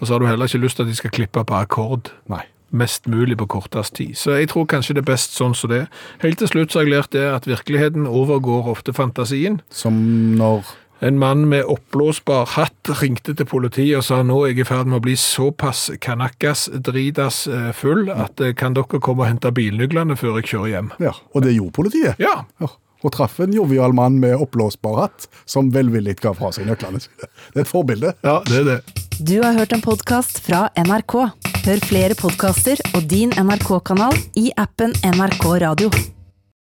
[SPEAKER 2] Og så har du heller ikke lyst til at de skal klippe på akkord.
[SPEAKER 7] Nei.
[SPEAKER 2] mest mulig på kortest tid. Så jeg tror kanskje det er best sånn som det. er. Helt til slutt så har jeg lært det at virkeligheten overgår ofte fantasien.
[SPEAKER 7] Som når
[SPEAKER 2] En mann med oppblåsbar hatt ringte til politiet og sa nå er jeg i ferd med å bli såpass kanakkas dridas eh, full at eh, kan dere komme og hente bilnøklene før jeg kjører hjem?
[SPEAKER 7] Ja, og det gjorde politiet.
[SPEAKER 2] Ja,
[SPEAKER 7] Ja, Og traff en jovial mann med oppblåsbar hatt, som velvillig ga fra seg nøklene sine. Det er et forbilde.
[SPEAKER 2] ja det er det.
[SPEAKER 1] Du har hørt en podkast fra NRK. Hør flere podkaster og din NRK-kanal i appen NRK Radio.